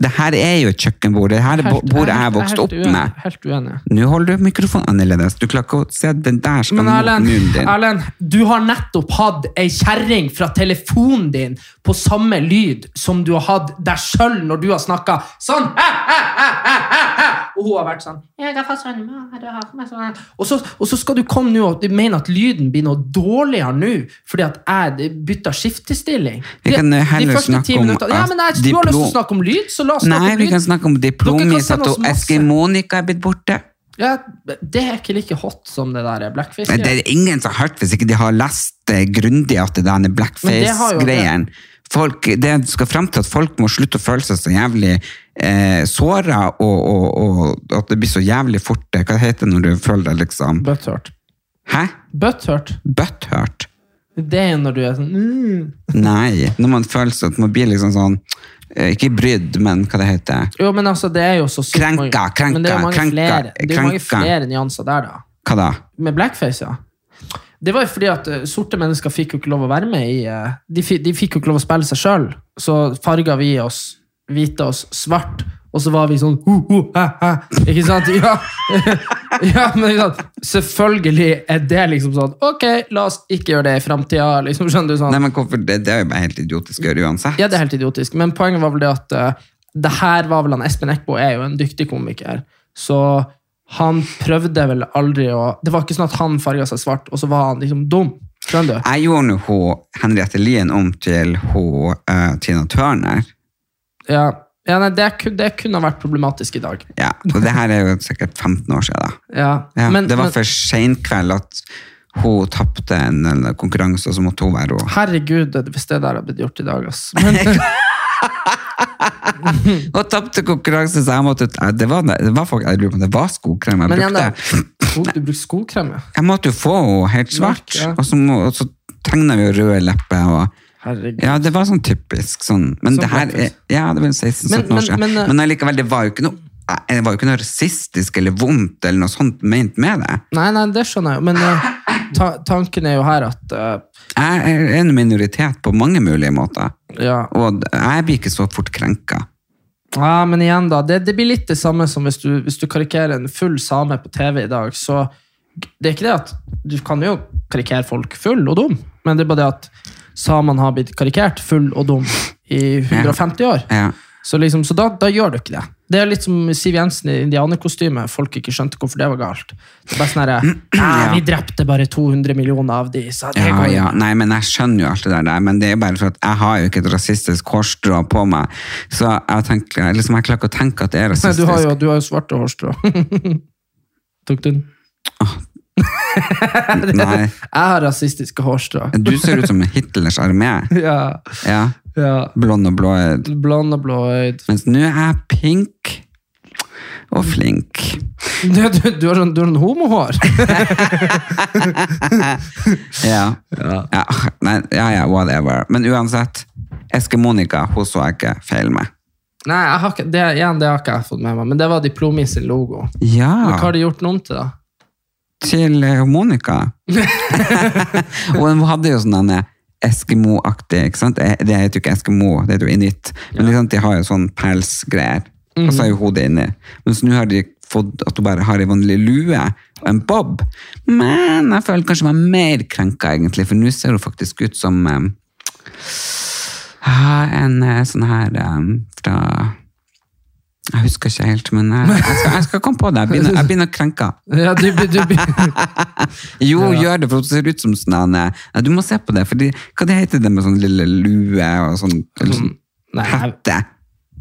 [SPEAKER 1] Det her er jo et kjøkkenbord. Det her er bo- bordet jeg vokste opp med.
[SPEAKER 2] Helt uenig.
[SPEAKER 1] Nå holder du mikrofonen annerledes. Du klarer ikke å se den der skal
[SPEAKER 2] Men
[SPEAKER 1] mot
[SPEAKER 2] Erlend,
[SPEAKER 1] munnen din.
[SPEAKER 2] Erlend, du har nettopp hatt ei kjerring fra telefonen din på samme lyd som du har hatt deg sjøl når du har snakka sånn. Hæ, hæ, hæ, hæ, hæ, hæ. Og hun har vært sånn. Jeg har fått sånn, ja, du har fått meg sånn. Og, så, og så skal du komme nå og mene at lyden blir noe dårligere nå fordi at jeg bytta skiftestilling.
[SPEAKER 1] Vi
[SPEAKER 2] De-
[SPEAKER 1] kan
[SPEAKER 2] de
[SPEAKER 1] heller
[SPEAKER 2] første
[SPEAKER 1] snakke
[SPEAKER 2] ti
[SPEAKER 1] om
[SPEAKER 2] minutter- ja,
[SPEAKER 1] at
[SPEAKER 2] men jeg, Du har lyst til
[SPEAKER 1] diplom-
[SPEAKER 2] å snakke om lyd, så la oss snakke
[SPEAKER 1] Nei,
[SPEAKER 2] om
[SPEAKER 1] vi
[SPEAKER 2] lyd.
[SPEAKER 1] kan snakke om
[SPEAKER 2] Dere kan
[SPEAKER 1] diplomis,
[SPEAKER 2] sende
[SPEAKER 1] at
[SPEAKER 2] oss masse.
[SPEAKER 1] Eskimonika er blitt borte.
[SPEAKER 2] Ja, det er ikke like hot som det der blackfish.
[SPEAKER 1] Nei, Det er ingen som har hørt hvis ikke de har lest det grundig at det der
[SPEAKER 2] Men
[SPEAKER 1] blackface-greien. Folk, det skal frem til at folk må slutte å føle seg så jævlig eh, såret, og, og, og at det blir så jævlig fort. eh, Hva heter det når du føler deg liksom...
[SPEAKER 2] Butthurt.
[SPEAKER 1] Hæ?
[SPEAKER 2] Butthurt.
[SPEAKER 1] Butthurt?
[SPEAKER 2] Det er når du er sånn mm.
[SPEAKER 1] Nei, når man føler seg at man blir liksom sånn, eh, ikke brydd, men hva det heter,
[SPEAKER 2] Jo, men altså, det er jo så sykt
[SPEAKER 1] Krenka,
[SPEAKER 2] mange-
[SPEAKER 1] krenka,
[SPEAKER 2] Men det er jo mange,
[SPEAKER 1] krenka,
[SPEAKER 2] flere, det er jo mange
[SPEAKER 1] krenka.
[SPEAKER 2] flere nyanser der, da.
[SPEAKER 1] hva da?
[SPEAKER 2] Med blackface, ja. Det var jo fordi at eh, sorte mennesker fikk jo ikke lov å være med i eh, De, fi- de fikk jo ikke lov å spille seg sjøl. Så farga vi oss hvite oss svart, og så var vi sånn ho, ho, hæ, hæ. Ikke sant? Ja, ja men ikke sant? Selvfølgelig er det liksom sånn Ok, la oss ikke gjøre det i framtida. Liksom, skjønner du sånn?
[SPEAKER 1] Nei, men hvorfor? Det, det er jo bare helt idiotisk å gjøre uansett.
[SPEAKER 2] Ja, det er helt idiotisk. Men poenget var vel det at eh, det her var vel han Espen Eckbo er jo en dyktig komiker. Så han prøvde vel aldri å Det var ikke sånn at han farga seg svart, og så var han liksom dum. Skjønner du?
[SPEAKER 1] Jeg gjorde nå hun Henriette Lien om til hun eh, Tina Turner.
[SPEAKER 2] Ja, ja nei, det, kunne, det kunne ha vært problematisk i dag.
[SPEAKER 1] Ja, og det her er jo sikkert 15 år siden da.
[SPEAKER 2] Ja,
[SPEAKER 1] Ja,
[SPEAKER 2] men,
[SPEAKER 1] det var
[SPEAKER 2] men
[SPEAKER 1] for sen kveld at hun tappte en eller annen konkurranse, og så måtte hun være hun.
[SPEAKER 2] herregud, det- hvis det der hadde blitt gjort i dag, ass. Men,
[SPEAKER 1] Hun tappte konkurranse, så jeg måtte ut. Det var, det var faktisk, jeg lurer på om det var skokrem jeg
[SPEAKER 2] men igjen,
[SPEAKER 1] brukte.
[SPEAKER 2] da. Sko- Du bruker skokrem, ja.
[SPEAKER 1] Jeg måtte jo få henne helt svart,
[SPEAKER 2] Mørk, ja.
[SPEAKER 1] og så, må- og så tegna vi jo røde lepper. Og,
[SPEAKER 2] Herregud.
[SPEAKER 1] ja, det var sånn typisk. Sånn. Men
[SPEAKER 2] Som
[SPEAKER 1] det her er,
[SPEAKER 2] blackface.
[SPEAKER 1] ja, det var 16-17
[SPEAKER 2] Men-
[SPEAKER 1] år siden.
[SPEAKER 2] men- men, eh,
[SPEAKER 1] Men, allikevel, det var jo ikke noe eh, det var jo ikke noe rasistisk eller vondt eller noe sånt ment med det.
[SPEAKER 2] Nei, nei, det skjønner jeg jo, men eh, ta, tanken er jo her at eh,
[SPEAKER 1] Jeg er en minoritet på mange mulige måter,
[SPEAKER 2] Ja.
[SPEAKER 1] og jeg blir ikke så fort krenka.
[SPEAKER 2] Ja, men igjen da, det, det blir litt det samme som hvis du, hvis du karikerer en full same på TV i dag, så det er ikke det at du kan jo karikere folk full og dum, men det er bare det at samene har blitt karikert full og dum i 150 år.
[SPEAKER 1] Ja.
[SPEAKER 2] Så, liksom, så da, da gjør du ikke det. Det er litt som Siv Jensen i indianerkostyme. Folk ikke skjønte hvorfor det var galt. Det er bare sånn herre «Nei, Vi drepte bare 200 millioner av de, så det
[SPEAKER 1] Mm. Ja,
[SPEAKER 2] går
[SPEAKER 1] ja. Nei, men jeg skjønner jo alt det der, der, men det er bare for at jeg har jo ikke et rasistisk hårstrå på meg, så jeg, tenker, liksom, jeg klarer ikke å tenke at det er
[SPEAKER 2] Nei,
[SPEAKER 1] rasistisk.
[SPEAKER 2] du har jo, du har jo svarte hårstrå. Tok du den?
[SPEAKER 1] Nei,
[SPEAKER 2] Jeg har rasistiske hårstrå.
[SPEAKER 1] du ser ut som Hitlers armé.
[SPEAKER 2] Ja.
[SPEAKER 1] Ja,
[SPEAKER 2] ja.
[SPEAKER 1] blond og blå.
[SPEAKER 2] Blond og blåøyd.
[SPEAKER 1] Mens nå er jeg pink og flink.
[SPEAKER 2] Du, du, du har sånn, du har sånn homohår.
[SPEAKER 1] Ja. Ja, nei, ja, ja, whatever. Men uansett, Eske Monika, hun så jeg ikke feil med.
[SPEAKER 2] Nei, jeg har ikke, det, igjen, det har ikke jeg fått med meg, men det var Diplomi sin logo. Men hva
[SPEAKER 1] Ja,
[SPEAKER 2] har de gjort den om til, da?
[SPEAKER 1] til eh, Monika. og hun hadde jo sånn denne Eskimo-aktig, ikke sant? Eh, Det heter jo liksom, ikke Eskimo, det heter jo inuitt. Men ikke sant, de har jo sånn pelsgreier. Og så er jo hodet inni. Mens nå har de fått at hun bare har ei vanlig lue og en bob. Men jeg føler kanskje meg mer krenka, egentlig, for nå ser hun faktisk ut som eh, ah, en eh, sånn her eh, fra Jeg husker ikke helt, men jeg, jeg, skal, jeg skal komme på det. Jeg begynner, jeg begynner å krenke.
[SPEAKER 4] Ja, du, du, du,
[SPEAKER 1] Jo, gjør det, for det ser ut som sånn en, eh, ja, Du må se på det, for hva det heter det med sånn lille lue og sånn, eller sånn
[SPEAKER 2] Nei, jeg,
[SPEAKER 1] hette?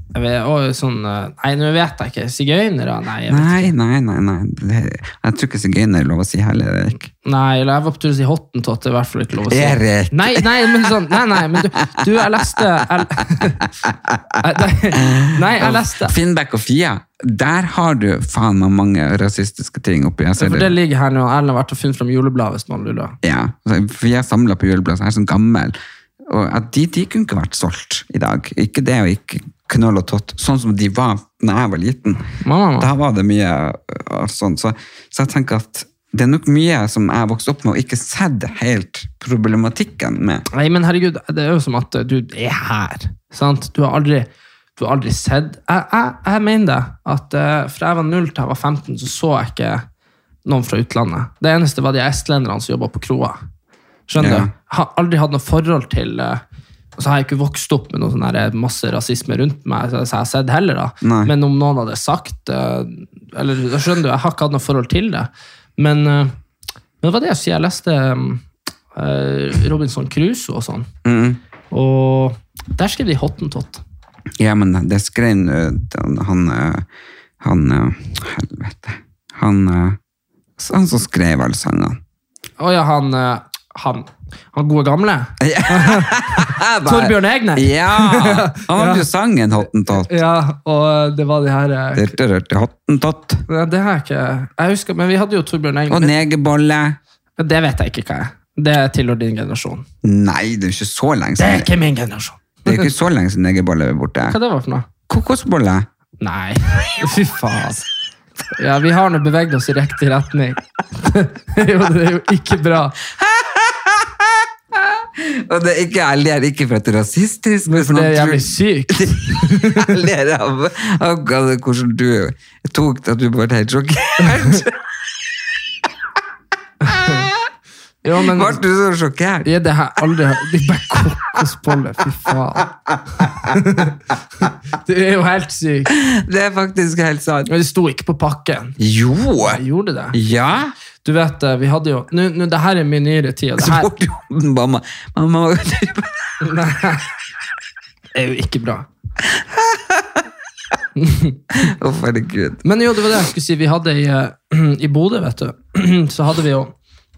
[SPEAKER 2] jeg vet, og sånn, eh, nei, nå vet jeg ikke. Sigøynere? Nei, jeg vet
[SPEAKER 1] Nei, nei, nei. nei. Det, jeg tror ikke sigøyner er lov å si heller, Erik.
[SPEAKER 2] Nei, eller jeg var på tur til å si hottentott. Det er i hvert fall ikke lov å si.
[SPEAKER 1] Erik.
[SPEAKER 2] Nei, nei, men sånn, nei, nei, men du, du jeg leste jeg, Nei, Nei, jeg leste
[SPEAKER 1] Finnbekk og Fia, der har du faen meg mange rasistiske ting oppi. Jeg ser
[SPEAKER 2] For det
[SPEAKER 1] det.
[SPEAKER 2] ligger her nå. Erlend har vært og funnet fram julebladet hvis man lurer.
[SPEAKER 1] Ja, altså, Fia samla på juleplass, jeg er sånn gammel. Og at de, de kunne ikke vært solgt i dag. Ikke det og ikke knoll og tott, sånn som de var da jeg var liten.
[SPEAKER 2] Mamma,
[SPEAKER 1] Da var det mye øh, sånn. Så, så jeg tenker at det er nok mye som jeg vokste opp med og ikke sett helt problematikken med.
[SPEAKER 2] Nei, men herregud, det er jo som at du er her. Sant? Du har aldri, du har aldri sett Jeg, jeg, jeg mener det. At eh, fra jeg var 0 til jeg var 15, så så jeg ikke noen fra utlandet. Det eneste var de estlenderne som jobba på kroa. Skjønner
[SPEAKER 1] Ja.
[SPEAKER 2] du? Jeg har aldri hatt noe forhold til eh, og så har jeg ikke vokst opp med noe sånn her masse rasisme rundt meg. Så jeg har sett heller da.
[SPEAKER 1] Nei.
[SPEAKER 2] Men om noen hadde sagt eh, eller da Skjønner du, jeg har ikke hatt noe forhold til det. Men, eh, men det var det jeg sier. Jeg leste eh, Robinson Crusoe og sånn.
[SPEAKER 1] Mm.
[SPEAKER 2] Og der skrev de hottentott.
[SPEAKER 1] Ja, men det skrev nå den- han eh, Han eh, Helvete. Han, eh, s- han som skrev alle sangene.
[SPEAKER 2] Å ja, han, eh, han, han gode gamle. Torbjørn Egner.
[SPEAKER 1] Ja! Han hadde jo sangen Hottentott.
[SPEAKER 2] Ja, og det var de her eh,
[SPEAKER 1] Dirtirdirti, Hottentott.
[SPEAKER 2] Nei, Det har jeg ikke Jeg husker, men vi hadde jo Torbjørn
[SPEAKER 1] Og
[SPEAKER 2] Egner.
[SPEAKER 1] negerbolle.
[SPEAKER 2] Men Det vet jeg ikke hva er. Det tilhører din generasjon.
[SPEAKER 1] Nei, det er jo ikke så lenge
[SPEAKER 2] Det er
[SPEAKER 1] siden.
[SPEAKER 2] ikke min generasjon.
[SPEAKER 1] Det er ikke så lenge siden negerbolle var borte.
[SPEAKER 2] Hva det var for noe?
[SPEAKER 1] Kokosbolle.
[SPEAKER 2] Nei, fy faen. Ja, vi har nå beveget oss i riktig retning. jo, det er jo ikke bra.
[SPEAKER 1] Og det er ikke, jeg ler ikke for at det er rasistisk, men for
[SPEAKER 2] Det
[SPEAKER 1] noen tror-
[SPEAKER 2] er jævlig sykt.
[SPEAKER 1] Jeg ler av, av hva- hvordan du tok det at du ble helt sjokkert.
[SPEAKER 2] Jo, men
[SPEAKER 1] Ble du så sjokkert?
[SPEAKER 2] ja, det har jeg aldri hørt. Det er bare kokosbolle, fy faen. Det er jo helt sykt.
[SPEAKER 1] Det er faktisk helt sant.
[SPEAKER 2] Men det sto ikke på pakken.
[SPEAKER 1] Jo!
[SPEAKER 2] Jeg gjorde det.
[SPEAKER 1] Ja!
[SPEAKER 2] Du vet, eh, vi hadde jo... Nå, nå, det her er min nyere tid, og det
[SPEAKER 1] Så
[SPEAKER 2] her
[SPEAKER 1] fort jo mamma Mamma
[SPEAKER 2] er jo ikke bra.
[SPEAKER 1] Å, herregud.
[SPEAKER 2] Men jo, det var det jeg skulle si. Vi hadde i, eh, i Bodø, vet du, så hadde vi jo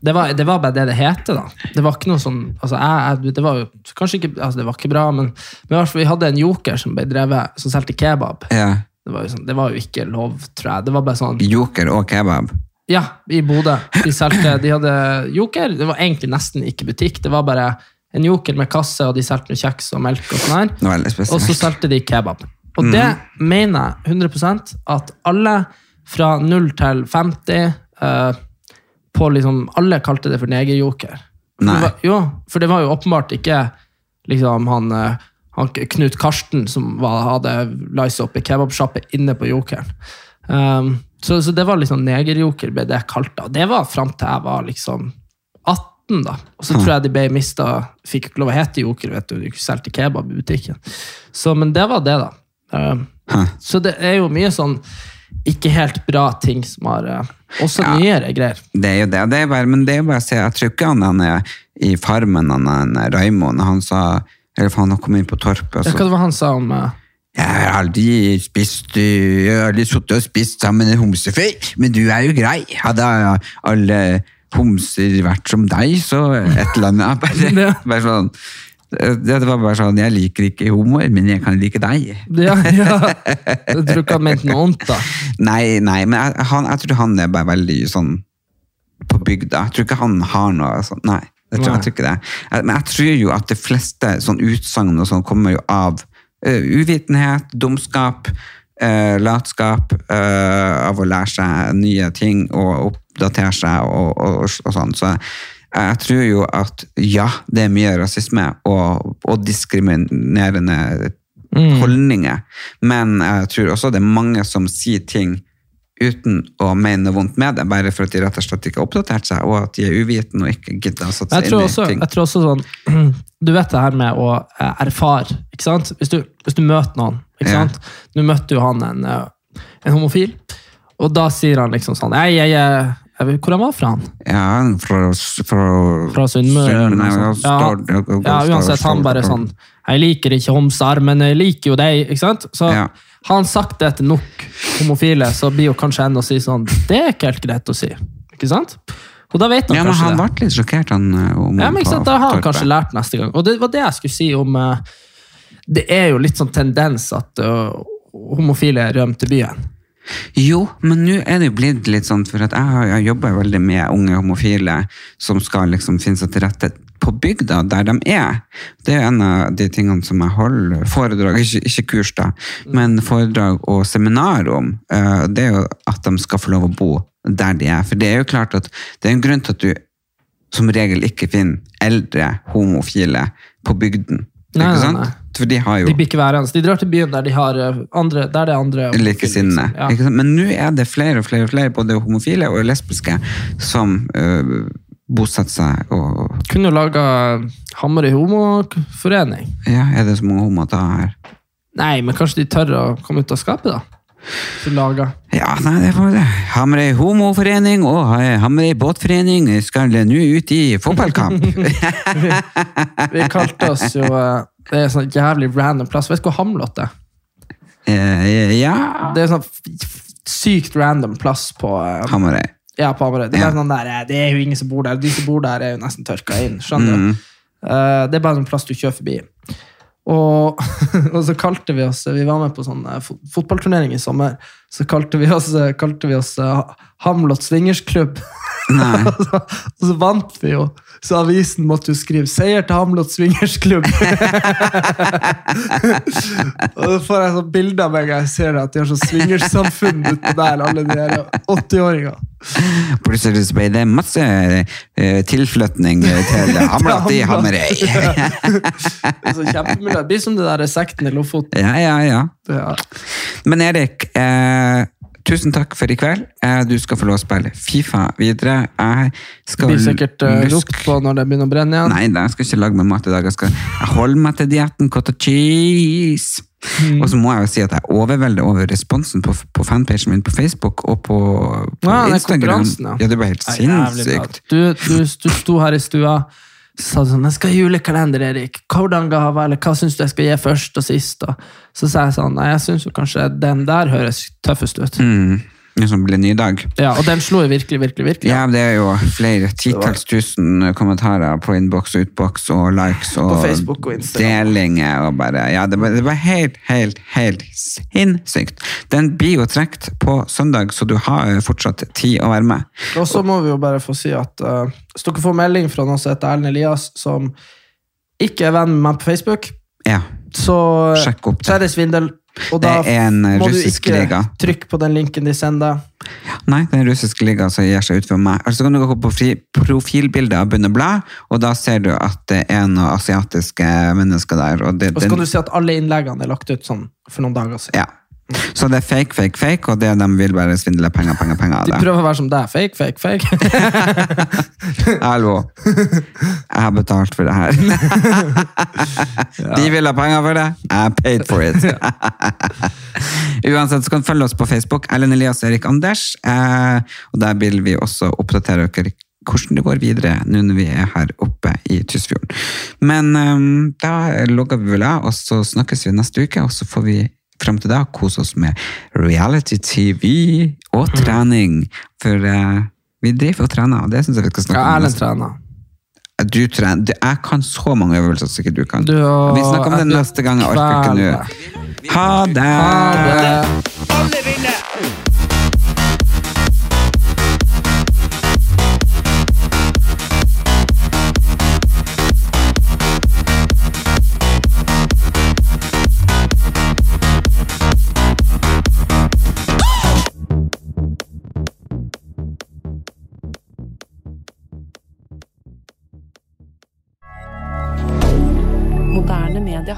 [SPEAKER 2] det var, det var bare det det hete, da. Det var ikke noe sånn, altså jeg, jeg, det var jo kanskje ikke altså det var ikke bra, men, men i hvert fall vi hadde en joker som ble drevet, som solgte kebab.
[SPEAKER 1] Ja.
[SPEAKER 2] Det var, jo sånn, det var jo ikke lov, tror jeg. Det var bare sånn
[SPEAKER 1] Joker og kebab.
[SPEAKER 2] Ja, i Bodø. De solgte De hadde joker. Det var egentlig nesten ikke butikk. Det var bare en joker med kasse, og de solgte noe kjeks og melk og sånn her.
[SPEAKER 1] Det var veldig
[SPEAKER 2] Og så
[SPEAKER 1] spesielt.
[SPEAKER 2] solgte de kebab. Og det mener jeg 100 at alle fra 0 til 50 eh, på liksom, Alle kalte det for negerjoker. For
[SPEAKER 1] Nei.
[SPEAKER 2] det var- Jo, for det var jo åpenbart ikke liksom, han, eh, han Knut Karsten som var, hadde lisa opp i kebabsjappe inne på jokeren. Um, så, så det var liksom negerjoker ble det kalt. da. Det var fram til jeg var liksom 18, da. Og
[SPEAKER 1] Hm.
[SPEAKER 2] så tror jeg de ble mista Fikk ikke lov å hete Joker, vet du. De solgte kebab i butikken. Så, men det var det, da. Um,
[SPEAKER 1] Hm.
[SPEAKER 2] så det er jo mye sånn ikke helt bra ting som har eh, Også
[SPEAKER 1] Ja.
[SPEAKER 2] nyere greier.
[SPEAKER 1] Det er jo det. det er bare, men det er jo bare å se. Jeg tror ikke han, han er i Farmen, han er Raymond, han sa Eller faen, han kom inn på torpet, og
[SPEAKER 2] Ja,
[SPEAKER 1] så
[SPEAKER 2] hva det var han sa om eh,
[SPEAKER 1] Jeg har aldri spist øh, Jeg har aldri suttet og spist sammen med en homse før, men du er jo grei. Hadde alle homser vært som deg, så et eller annet. Bare, bare sånn. Det det var bare sånn, jeg liker ikke homoer, men jeg kan like deg.
[SPEAKER 2] ja, ja. Jeg tror ikke han mente noe vondt, da.
[SPEAKER 1] Nei, nei, men jeg, han, jeg tror han er bare veldig sånn på bygda. Jeg tror ikke han har noe sånn, nei. Jeg tror, jeg
[SPEAKER 2] Nei.
[SPEAKER 1] tror ikke det. Jeg, men jeg tror jo at de fleste sånn utsagn og sånn kommer jo av ø, uvitenhet, dumskap, ø, latskap, ø, av å lære seg nye ting og oppdatere seg og, og, og, sånn. Så jeg, jeg tror jo at ja, det er mye rasisme og, og
[SPEAKER 2] Mm.
[SPEAKER 1] Mm. diskriminerende holdninger. Men jeg tror også det er mange som sier ting uten å mene noe vondt med det, bare for at de rett og slett ikke har oppdatert seg, og at de er uvitende og ikke gidder å sette
[SPEAKER 2] Jeg
[SPEAKER 1] seg
[SPEAKER 2] tror,
[SPEAKER 1] inn
[SPEAKER 2] også,
[SPEAKER 1] i ting.
[SPEAKER 2] jeg tror også sånn Du vet det her med å eh, erfare. ikke sant? Hvis du, hvis du møter noen ikke
[SPEAKER 1] Ja.
[SPEAKER 2] sant? Nå møtte jo han en, eh, en homofil, og da sier han liksom sånn jeg, jeg, jeg, jeg, vet- Hvor han var fra? han?
[SPEAKER 1] Ja, fra, fra,
[SPEAKER 2] Fra Sunnmøre? eller noe
[SPEAKER 1] ja,
[SPEAKER 2] sånt. Ja,
[SPEAKER 1] Stord- og- og-
[SPEAKER 2] ja,
[SPEAKER 1] og-
[SPEAKER 2] uansett. Han
[SPEAKER 1] Stord-
[SPEAKER 2] bare
[SPEAKER 1] og-
[SPEAKER 2] sånn Jeg liker ikke homser, men jeg liker jo deg. ikke sant? Så
[SPEAKER 1] Ja.
[SPEAKER 2] har han sagt det til nok homofile, så blir jo kanskje en å si sånn Det er ikke helt greit å si. Ikke sant? Og da vet han
[SPEAKER 1] Ja, men
[SPEAKER 2] kanskje
[SPEAKER 1] han
[SPEAKER 2] det.
[SPEAKER 1] ble litt sjokkert, han. eh, om-
[SPEAKER 2] Ja, men ikke sant, Da har han
[SPEAKER 1] på-
[SPEAKER 2] kanskje lært neste gang. Og det var det jeg skulle si om eh, Det er jo litt sånn tendens at eh, homofile rømmer til byen.
[SPEAKER 1] Jo, men nå er det jo blitt litt sånn, for at jeg, har- jeg jobber jo veldig med unge homofile som skal liksom finne seg til rette på bygda der de er. Det er en av de tingene som jeg holder foredrag, ikke, ikke kurs da, men foredrag og seminar om, eh, det er jo at de skal få lov å bo der de er. For det er jo klart at det er en grunn til at du som regel ikke finner eldre homofile på bygden.
[SPEAKER 2] Nei, nei,
[SPEAKER 1] ikke sant?
[SPEAKER 2] nei.
[SPEAKER 1] For de har jo...
[SPEAKER 2] De blir ikke værende. De drar til byen der, de har eh, andre, der det er andre homofile,
[SPEAKER 1] likesinnede.
[SPEAKER 2] liksom. Ja.
[SPEAKER 1] Ikke sant? Men nå er det flere og flere, og flere både homofile og lesbiske, som øh, bosetter seg og
[SPEAKER 2] Kunne jo laga Hamarøy homoforening.
[SPEAKER 1] Ja, er det så mange homoer da her?
[SPEAKER 2] Nei, men kanskje de tør å komme ut av skapet, da. Så laga.
[SPEAKER 1] Ja, nei, det får vi det. Hammerøy homoforening og eh, Hammerøy båtforening skal nå ut i fotballkamp.
[SPEAKER 2] Vi kalte oss jo eh, Det er en sånn jævlig random plass. Vet du hvor Hamlet er?
[SPEAKER 1] Eh, ja
[SPEAKER 2] Det er en sånn f- sykt random plass på eh,
[SPEAKER 1] Hammerøy.
[SPEAKER 2] Ja, på Hamarøy. Det, er
[SPEAKER 1] Ja.
[SPEAKER 2] bare sånn der, eh, det er jo ingen som bor der. De som bor der, er jo nesten tørka inn. skjønner
[SPEAKER 1] Mm.
[SPEAKER 2] du? Eh, det er bare en plass du kjører forbi. Og, og så kalte vi oss Vi var med på sånn eh, fot fotballturnering i sommer. Så kalte vi oss, eh, kalte vi oss eh, Ha- Hamlet swingersklubb.
[SPEAKER 1] Nei.
[SPEAKER 2] og, så, og så vant vi jo. Så avisen måtte jo skrive 'Seier til Hamlet swingersklubb'. og så får jeg sånn bilde av meg og jeg ser det, at de har sånn swingersamfunn utpå der, alle de der 80-åringene.
[SPEAKER 1] Plutselig så ble det masse eh, tilflytning til Hamlet i Hammerøy.
[SPEAKER 2] Så kjempemiljø. Det Altså, blir som det der sekten i Lofoten.
[SPEAKER 1] Ja, ja, ja.
[SPEAKER 2] Ja.
[SPEAKER 1] Men Erik, eh, tusen takk for i kveld. Eh, du skal få lov å spille Fifa videre. Jeg
[SPEAKER 2] Det
[SPEAKER 1] skal
[SPEAKER 2] blir sikkert eh,
[SPEAKER 1] lusk-
[SPEAKER 2] ropt på når det begynner å brenne igjen.
[SPEAKER 1] Nei, da, jeg skal ikke lage meg mat i dag. Jeg, skal, jeg holder meg til dietten cottage cheese.
[SPEAKER 2] Mm.
[SPEAKER 1] Og så må jeg jo si at jeg er overveldet over responsen på, på fanpagen min på Facebook og på, på
[SPEAKER 2] Ja, den
[SPEAKER 1] Instagram.
[SPEAKER 2] konkurransen, ja.
[SPEAKER 1] Ja, det var helt
[SPEAKER 2] Nei, jævlig bra.
[SPEAKER 1] sinnssykt.
[SPEAKER 2] Du, du, du sto her i stua så sa du sånn, jeg skal ha julekalender, Erik. Hvordan gave, eller hva syns du jeg skal gi først og sist? Og så sa jeg sånn, nei, jeg syns jo kanskje den der høres tøffest ut.
[SPEAKER 1] Mm. Det som blir en ny dag.
[SPEAKER 2] Ja, Og den slo jo virkelig, virkelig, virkelig.
[SPEAKER 1] Ja, det er jo flere titalls tusen kommentarer på innboks og utboks og likes og,
[SPEAKER 2] Facebook og Instagram.
[SPEAKER 1] delinger og bare Ja, det var, det var helt, helt, helt sinnssykt. Den blir jo trukket på søndag, så du har jo fortsatt tid å være med.
[SPEAKER 2] Og så må vi jo bare få si at eh, hvis dere får melding fra noen som heter Erlend Elias, som ikke er venn med meg på Facebook,
[SPEAKER 1] Ja.
[SPEAKER 2] så eh,
[SPEAKER 1] Sjekk opp det.
[SPEAKER 2] så er det svindel. Og
[SPEAKER 1] Det
[SPEAKER 2] da
[SPEAKER 1] er en eh,
[SPEAKER 2] må du
[SPEAKER 1] russisk
[SPEAKER 2] ikke
[SPEAKER 1] liga.
[SPEAKER 2] trykke på den linken de sender.
[SPEAKER 1] Nei, den russiske ligaen som gir seg ut for meg. Altså kan du gå på fri, profilbildet av Bunn og Blad, og da ser du at det er noen asiatiske mennesker der. Og, det,
[SPEAKER 2] Og så
[SPEAKER 1] den-
[SPEAKER 2] kan du si at alle innleggene er lagt ut sånn for noen dager siden.
[SPEAKER 1] Ja. Så det er fake, fake, fake, og det de vil bare svindle penger, penger, penger av
[SPEAKER 2] De
[SPEAKER 1] det.
[SPEAKER 2] prøver å være som deg. Fake, fake, fake.
[SPEAKER 1] Hallo. Jeg har betalt for det her. De vil ha penger for det. I paid for it. Uansett så kan du følge oss på Facebook. Ellen Elias og Erik Anders. Eh, og der vil vi også oppdatere dere hvordan det går videre nå når vi er her oppe i Tysfjorden. Men eh, da logger vi vel av, og så snakkes vi neste uke, og så får vi frem til da kose oss med reality-TV og trening. For eh, vi driver og trener, og det syns jeg vi skal
[SPEAKER 2] Ja,
[SPEAKER 1] snakke om.
[SPEAKER 2] Erlend
[SPEAKER 1] neste-
[SPEAKER 2] trener.
[SPEAKER 1] du trener. Du- Jeg kan så mange øvelser som ikke du kan.
[SPEAKER 2] Du og-
[SPEAKER 1] Vi snakker om det
[SPEAKER 2] du-
[SPEAKER 1] neste gang. Jeg orker ikke nå. Ha det!
[SPEAKER 2] Ha det.
[SPEAKER 5] Moderne media.